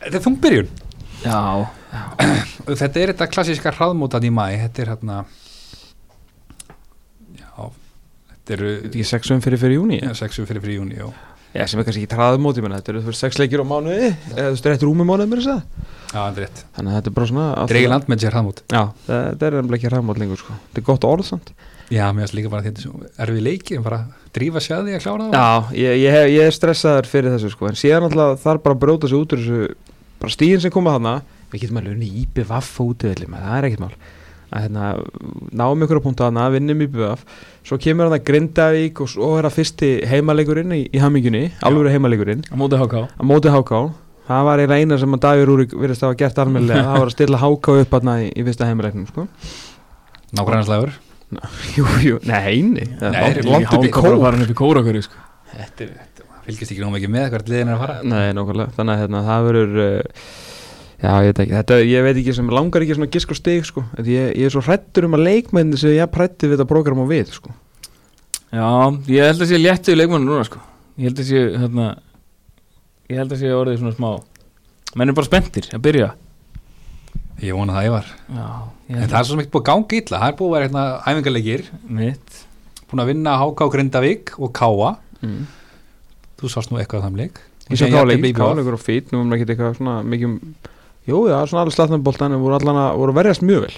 S3: þetta er þungbyrjun
S1: Já,
S3: Og þetta er þetta klassíska hraðmótan í mæ þetta er hérna já
S2: Þetta
S3: þetta eru
S2: er ekki sexum fyrir fyrir júni
S3: já, sexu fyrir fyrir júni já.
S2: Já, sem er kannski ekki traðumóti, menn þetta eru þú veist, sex leikir á mánuði eða þú veist, rétt rúmi mánuði mér þess að segja.
S3: já, þetta er rétt
S2: Þannig að þetta er bara svona
S3: þetta er eiginlega landmennsir hraðmót
S2: Já, það- þetta er nefnilega ekki hraðmót lengur sko Þetta er gott orð samt
S3: já, mér finnst líka bara þetta er svo erfið leiki en bara drífa sér að því að klára það
S2: Já, ég, ég, hef, ég er stressaður fyrir þessu sko En síðan alltaf þarf bara að bróta sig út úr þessu Bara stíðin sem koma þarna Við getum alveg unni IBVF útiðli maður, Það er ekkert mál að hérna, náum ykkur á punktu hana, vinnum í BVF svo kemur hann að Grindavík og svo er það fyrsti heimalegurinn í, í hamingjunni, alvöru heimalegurinn
S1: á móti háká
S2: að móti háká það var eiginlega eina sem að Dagur Rúrik virðist að hafa gert almennilega, það var að stilla háká upp aðna í, í fyrsta heimilegnum sko.
S3: nágrannslagur
S2: jú, jú, nei, nei, það
S3: Nei,
S2: er
S3: þeir eru
S2: langt- langt upp í
S1: Háká bara
S2: kór
S1: farin upp í kóra hverju sko
S3: fylgist ekki nóg mikið með hvert liðin er að fara
S2: nei, nákvæmlega, þannig að hérna, það verður uh, já, ég veit ekki, þetta, ég veit ekki sem langar ekki svona gisk og stig sko. Þetta ég, ég er svo hrættur um að leikmenni sem ég prætti við þetta program og við sko.
S1: Já, ég held að sé léttu í leikmannu núna sko Ég held að sé, hérna Ég held að sé orðið svona smá Menn er bara spenntir að byrja
S3: ég vona það ég var
S1: Já, ég
S3: en
S1: held
S3: það er svo sem ekki búið að ganga illa það er búið að vera hérna æfingarleikir
S1: Mitt
S3: búin að vinna HK Grindavík og Káa
S2: mm.
S3: þú sást nú eitthvað af þeim leik
S2: ég sé káleik, káleikur og fýt nú erum við ekki eitthvað svona mikið um, jú, það er svona alveg slatnaboltan en voru allan að voru að verjast mjög vel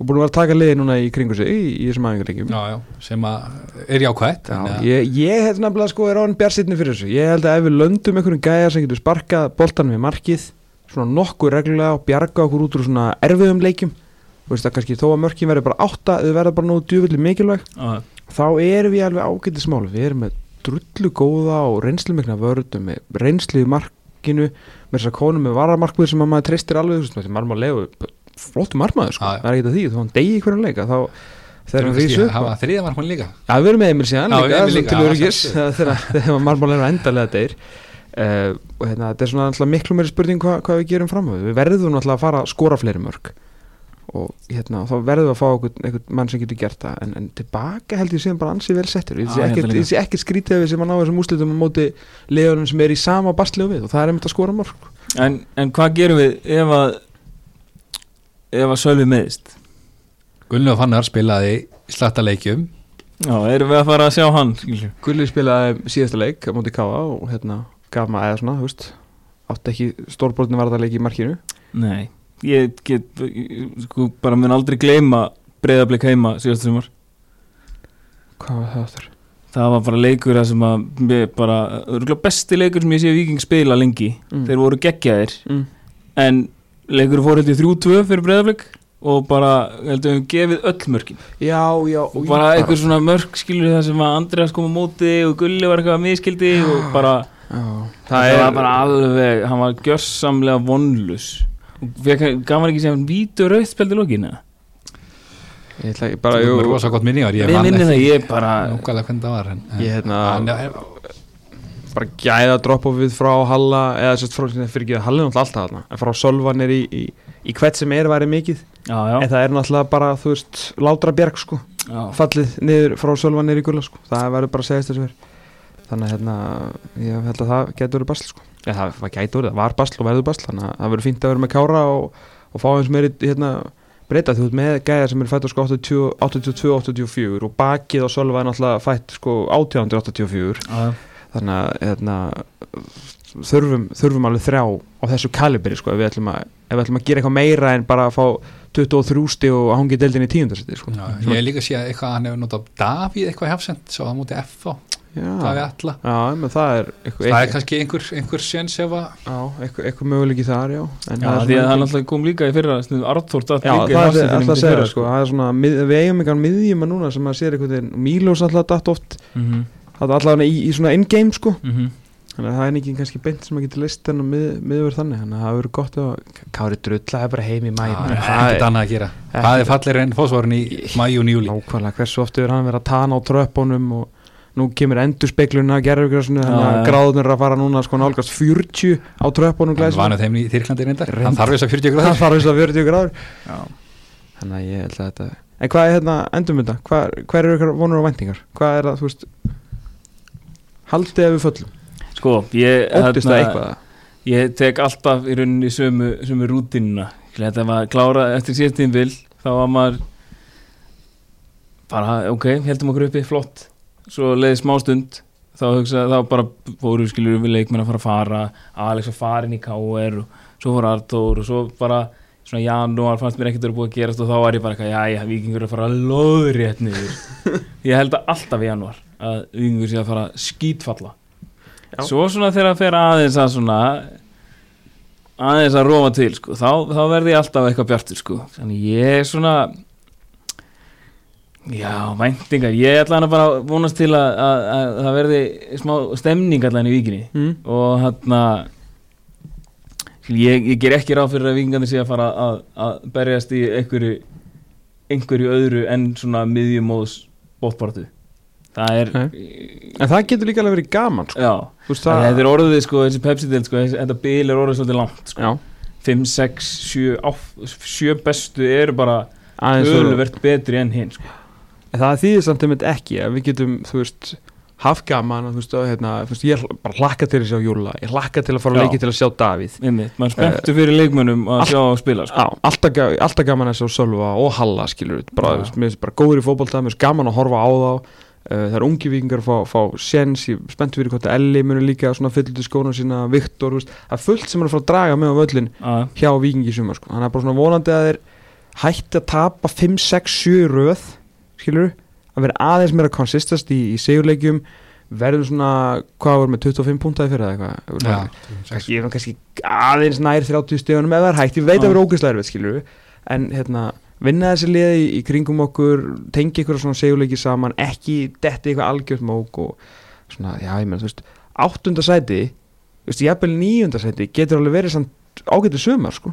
S2: og búin að vera að taka liði núna í kringu sig í, í þessum aðingarleikjum
S3: já, já, sem að er jákvætt
S2: Já,
S3: en, eh,
S2: ég, ég held nefnilega sko er án bjarsitni fyrir þessu ég held að ef við löndum einhverjum gæja sem getur sparkað boltan við markið svona nokkuð reglulega og bjarga okkur út úr svona erfiðum leikjum þú veist að kannski þó að mörkin verður bara átta þau verður bara nógu djúvillig mikilvæg
S1: Já,
S2: þá erum við alveg ágætið smál við erum með drullu góða og reynslu mikna vörðum með reynslu í markinu með þess að konum með varamarkmið sem að maður treystir alveg þú veist, þessi marmar legu flottum marmaður sko,
S3: Já, já.
S2: það er ekki að því þá hann degi í hverjum leika þá þegar
S3: Þegar
S2: hann
S3: við
S2: rís upp
S3: hafa þriða markmann líka
S2: Já, við erum með Emil síðan
S3: Já, við
S2: líka,
S3: erum
S2: svona
S3: líka,
S2: til
S3: já,
S2: öryggis þegar þegar- þegar marmál er á endalega deyr uh, og hérna, þetta er svona alltaf miklu meiri spurning hva, hvað við gerum fram á við verðum alltaf að fara að skora fleiri mörg og hérna, þá verðum við að fá einhvern, einhvern mann sem getur gert það en, en tilbaka held ég síðan bara ansið vel settur ég
S1: Já,
S2: sé
S1: ég held
S2: ekkert
S1: það líka.
S2: ekki, ekki skrítið ef við sem að ná þessum úslitum á móti leiðunum sem er í sama basli og við og það er einmitt að skora mörg
S1: En, en hvað gerum við ef að ef að Sölvi meðist
S3: Gunnljóð Fannar spilaði í slattaleikjum
S1: Já, erum við að fara að sjá hann skilju
S2: Gulli spilaði síðasta leik á móti Káa og hérna gaf maður eða svona, þú veist átti ekki stórbrotni varðarleiki í markinu
S1: Nei, ég get ég, sko bara mun aldrei gleyma breyðablik heima síðast sumar
S2: hvað var það aftur?
S1: Það var bara leikur þar sem að mér bara, örgulega besti leikur sem ég sé Víking spila lengi,
S2: Mm.
S1: þeir voru geggjaðir
S2: Mm.
S1: en leikur fór held ég 3-2 fyrir breyðaflik og bara heldur við höfum gefið öll mörkin
S2: Já, já
S1: og bara einhver svona mörk skilur það sem að Andreas kom á móti og Gulli var eitthvað að miskildi og bara
S2: já,
S1: Ah, það var bara alveg, hann var gjörsamlega vonlus og fekk- gaf hann ekki sem vítu rauðspeldi lókina
S2: Ég ætla ekki bara
S3: bara, jú,
S2: jú,
S3: rosa gott minni var ég
S1: við minnum það ég bara
S3: núkvæðlega hvernig það var en, en,
S2: Ég hérna
S3: Ah, en, en,
S2: bara gæða droppofið frá Halla eða sérst frá, fyrir ekki Halla er náttúrulega alltaf þarna en frá Solvan er í, í, í hvert sem er væri mikið
S1: já, já,
S2: en það er náttúrulega bara, þú veist, látra bjerg sko
S1: já.
S2: fallið niður frá Solvan niður í gulla sko það verður bara að segja þessu verð þannig að hérna, ég held að það getur verið basl sko eða það var getur verið, það var basl og verður basl þannig að það verður fínt að vera með kára og, og fá eins meiri hérna breyta þú ert með gæja sem er fætt á sko 82-84 og bakið á Solva er náttúrulega fætt sko 1884
S1: Já, já.
S2: þannig að hérna, þurfum, þurfum alveg þrjá á þessu kalibri sko ef við ætlum að, ef við ætlum að gera eitthvað meira en bara að fá 23 stíg og að hún geti deildin í tíundarsæti sko.
S3: já, ég hef líka séð eitthvað að hann hefur notað Davíð eitthvað hefsend svo það mútið F á
S2: Ah.
S3: Davíð Alla
S2: Já, menn það er eitthvað,
S3: það er
S2: eitthvað,
S3: kannski einhver, einhver séns ef að
S2: já, eitthvað, eitthvað möguleiki þar, já en
S1: Já,
S2: það
S1: því
S2: er svona
S1: að hann
S2: engin-
S1: alltaf kom líka í fyrra snuð Arthur datt
S2: Já,
S1: líka í
S2: það er
S1: hafsendinum
S2: alltaf að
S1: í
S2: segja,
S1: fyrra,
S2: sko, það er svona, mið, við eigum einhvern miðjum að núna sem maður sér einhvern veginn, Mílós alltaf datt oft,
S1: Mhm,
S2: það er alltaf í, í svona in-game, sko,
S1: mhm.
S2: þannig að það er ekki kannski beint sem maður getur list en að mið, miðjur þannig, þannig að það verður gott að, Kári drulla er bara heim í mæ,
S3: það er Ah, ekkert annað að gera
S2: Ekkert-
S3: það er fallir enn fósvarinn í mæjun júli
S2: nákvæmlega, hversu oft er hann verið að tana á tröppunum og nú kemur endur speikluna gerðurgrásinu, þannig
S1: Já,
S2: að
S1: já.
S2: gráðunir er að fara núna sko nálgast 40 á tröppunum
S3: Hann
S2: glæsum,
S3: vanur þeim í Þýrklandi reyndar
S2: Reyndar.
S3: Hann þarf þess að 40
S2: það
S3: gráður
S2: þarf þess að 40 gráður
S1: Já.
S2: þannig að ég held að þetta en hvað er hérna endum þetta, hvað, hvað eru ykkur vonur og væntingar, hvað er það, þú veist haldið ef við föllum
S1: Sko, ég
S2: óttist það
S1: hérna,
S2: eitthvað
S1: Ég tek alltaf í rauninni sömu, sömu rútinuna Þetta var klára eftir síðastíðin vil Þá var maður bara, ok, heldum okkur uppi, flott Svo leiði smá stund Þá, hugsa, þá bara fóru skilur við leikmenn að fara að fara Alex var farin í KR og Svo fór Artur og svo bara Svona janúar fannst mér ekkert að vera búið að gerast Og þá var ég bara eitthvað, jæja, vikingur er að fara Lóðrétt niður Ég held að alltaf í janúar Að vikingur sé að fara að skítfalla
S2: Já.
S1: Svo svona þegar að fer aðeins að svona aðeins að róma til sko. þá, þá verði ég alltaf eitthvað bjartur sko. þannig ég er svona já, væntingar ég ætla hann að bara vonast til að, að, að það verði smá stemning allan í vikinni
S2: mm.
S1: og hann ég, ég ger ekki ráð fyrir að vingarnir sé að fara að, að berjast í einhverju einhverju öðru en svona miðjumóðs bóttbartu það er
S2: Nei. en það getur líka alveg verið gaman sko.
S1: já,
S2: þú veist
S1: það...
S2: það
S1: þetta er orðið sko, þessi Pepsi-del sko, þessi- þetta bil er orðið svolítið langt sko.
S2: já,
S1: 5, 6, 7, 8, 7 bestu eru bara
S2: aðeins og-
S1: öluvert betri enn hinn sko.
S2: En það þýðir samt einmitt ekki að við getum, þú veist, haft gaman að, þú veist, að, hérna, þú veist, ég hl- bara hlakka til að sjá Júla, ég hlakka til að
S1: Já.
S2: fara að leiki til að sjá Davíð
S1: einmitt, maður spenntu fyrir leikmönnum að
S2: allt-
S1: sjá að spila sko.
S2: Já, alltaf, ga- alltaf gaman að sjá Sölva og Halla, skilur við, bara,
S1: Já.
S2: þú veist, mér finnst bara góður í fótbolta, mér finnst gaman að horfa á þá uh, það er ungi vikingar að fá, fá séns, ég er spenntur fyrir hvort að Elli munu líka svona fyllt í skóna sína, Viktor, þú veist, það er fullt sem er að fara að draga með á völlin
S1: að,
S2: hjá vikingi sumar, sko, hann er bara svona vonandi að þeir hætti að tapa 5, 6, 7 röð, skilur að vera aðeins meira konsistast í, í segjuleikjum verðum svona, hvað voru með 25 púntaði fyrir eða eitthvað
S3: Já,
S2: kannski, ég er nú kannski aðeins nær 30 stegunum eða það er hægt, ég veit
S1: Já.
S2: að vera ógeðslega erfið skilur en hérna, vinna þessi liði í, í kringum okkur, tengi ykkur svona segjuleiki saman, ekki detti eitthvað algjört mók og svona, já ég menn þú veist, áttunda sæti þú veist, jafnvel níunda sæti getur alveg verið samt ágætið sumar sko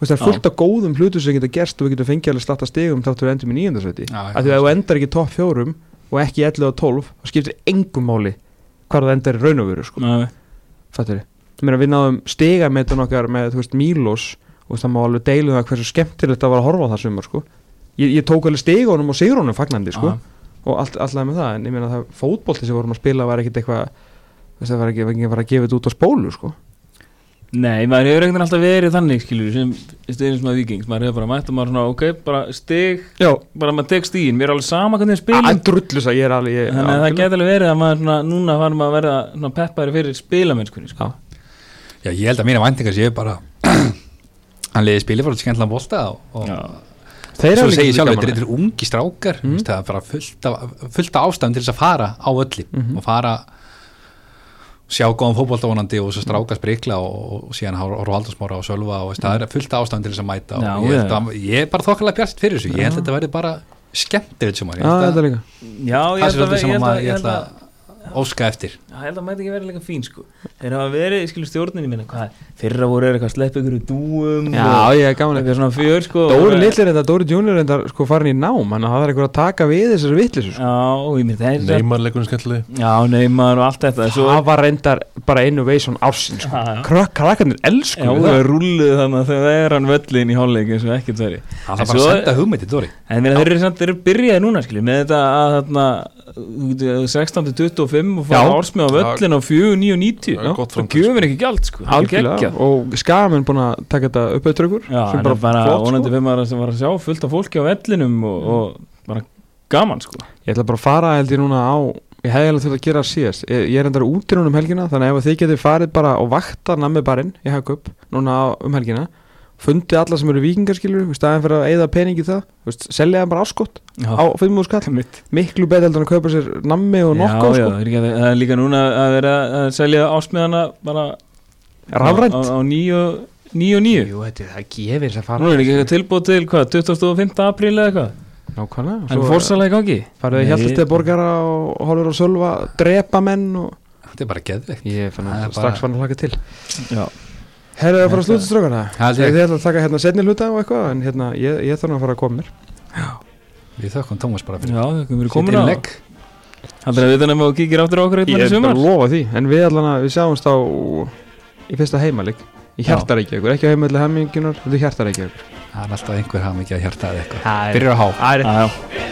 S2: Þú veist, það er
S1: Já.
S2: fullt af góðum hlutum sem geta gerst og við getum fengið alveg slatta stigum þáttur við endum í níunda sæti
S3: Já, já,
S2: að því að ef þú endar ekki í topp fjórum og ekki í 11 og 12 þá skiptir engum máli hvar það endar í raun og veru sko
S1: að,
S2: fattur ég meina við náðum stigametan okkar með þú veist Mílos og það má alveg deilu það hversu skemmtilegt að var að horfa á það sumar sko ég, ég tók alveg stigunum og sigurunum fagnandi
S1: ah.
S2: sko og allt, alltaf með það en ég meina það fótbolti sem vorum að spila var ekkit eitthvað þú veist, það var ekki, var ekki að fara að gefa þetta út á spólu sko
S1: nei, maður hefur ekkert alltaf verið þannig skilur, sem stegin sem að vikings maður hefur bara mætt og maður svona, ok, bara steg
S2: já
S1: bara maður tek stíin, mér er alveg sama hvernig við spilum
S2: að drullu það ég er alveg ég,
S1: þannig að það
S2: algjörlega.
S1: geti alveg verið að maður svona, núna varum að verða svona, peppari fyrir spilamennskunni sko.
S3: Já, ég held að mína væntingar séu bara hann leiði spilið fyrir skemmtilega bolta og, og
S2: þeir
S3: svo
S2: eru
S3: segi ég
S2: líka
S3: sjálfur,
S2: gaman
S3: þetta eru ungi strákar mm. það er bara fullt af, fullt af ástæðum til þess að fara á öllin og fara sjá góðan fótboltavonandi og svo stráka sprikla og, og síðan horfa haldarsmára og sölva og veist, það er fullt af ástæðum til þess að mæta og
S1: Já,
S3: ég, held
S1: já.
S3: að, ég er bara þokkalega bjart fyrir þessu ég held að þetta verði bara skemmtilegt sumar Ég
S2: Já,
S3: held
S2: þetta
S3: að-
S2: líka
S1: já, ég
S3: það er
S1: held að
S3: svolítið sem
S1: ég
S3: að
S1: held
S3: maður-
S1: að-
S3: ég
S1: ég
S3: held
S1: held að
S3: að óska eftir
S1: Já, ég held að mæti ekki verið leika fín sko Þeir hafa verið, skilur stjórninni minna hvað, Fyrra voru er eitthvað að sleppa ykkur í dúum
S2: Já, ég er gaman
S1: og eitthvað svona fjör sko
S2: Dóri
S1: Og-
S2: Lillir þetta, Dóri Junior þetta sko farin í nám Þannig að það er eitthvað að taka við þessari vitleysu, sko.
S1: Já, ég myndi það er
S4: Neymar leikurinn skemmtilegi
S1: Já, neymar og allt þetta Svo
S2: Það var reyndar bara innovation ársins sko.
S1: Já, já.
S2: Krak- Krakkarnir elskum
S1: Já,
S2: það
S1: það rúluðu þannig að þegar er hann völlin í hálfleik eins og ekkert veri
S3: það
S1: En
S3: er bara að
S1: svo-
S3: senda hugmyndi, Dóri
S1: En meina, þeir eru samt, þeir eru byrjaði núna skilur með þetta að þarna þú getur- 16.25 og fara
S2: Já.
S1: ársmið á völlin á 4.990
S4: Já, gott
S1: Það
S4: framtak,
S1: gefur ekki gjald sko Það er
S2: Algjörlega,
S1: geggjað.
S2: og skamin búin að taka þetta upp auðvitað ykkur
S1: Já,
S2: sem
S1: en
S2: bara
S1: bara, bara
S2: flott,
S1: vonandi
S2: sko. Mm.
S1: fyrir maður sem var að sjá fullt af fólki á vellinum og, og bara gaman sko
S2: Ég ætla bara að fara held ég núna á Ég hefði alveg til að gera síðast Ég, ég er endara út í núna um helgina Þannig að ef þið getið farið bara og vakta nammi barinn Ég haka upp núna á, um helgina Fundið alla sem eru vikingarskilur Þú veist, aðeins fyrir að eigða peningi það Þú veist, selja það bara áskott
S1: Já,
S2: á 5.000 skall
S1: mitt
S2: Miklu betur heldur en að kaupa sér nammi og nokko
S1: já,
S2: sko.
S1: já, er ekki að- það er líka núna að vera að selja ásmiðana bara
S2: Rafrænt
S1: á, á, á níu, níu og níu
S2: Jú, þetta er það gefir sem fara
S1: Nú er ekki eitthvað tilbúið til hvað, 25. apríl eða eitthvað
S2: Nákvæmlega
S1: En fórsala í gangi
S2: Farðu
S1: Nei.
S2: þið hjálpast til borgara og horfur á sölva Drepa menn og
S3: þetta er bara geðveikt
S2: Ég fann
S3: Það
S2: að
S3: er bara-
S2: strax fann að hlaka til
S1: Já,
S2: Herðu að fara að slúta strókana
S3: Held
S2: Þið
S3: ég.
S2: ætla að taka hérna setni hluta og eitthvað En hérna, ég, ég þarf nú að fara að koma mér
S3: við þökkum Tómas bara fyrir
S1: já þau komur
S3: sitt
S1: komin á
S3: innlegg
S1: Haldur að við þannig að þú kíkir aftur á okkur
S2: Ég
S1: eitthvað í
S2: er bara
S1: sumar?
S2: að lofa því, en við allan að við sjáumst á í fyrsta heimaleg í
S1: Já.
S2: hjartarækja ykkur, ekki á heimaleg hemmingunar þetta er hjartarækja ykkur
S3: Það er alltaf einhver hafði mikið að hjartaði eitthvað Byrjar á há
S2: Það er
S1: Já, já.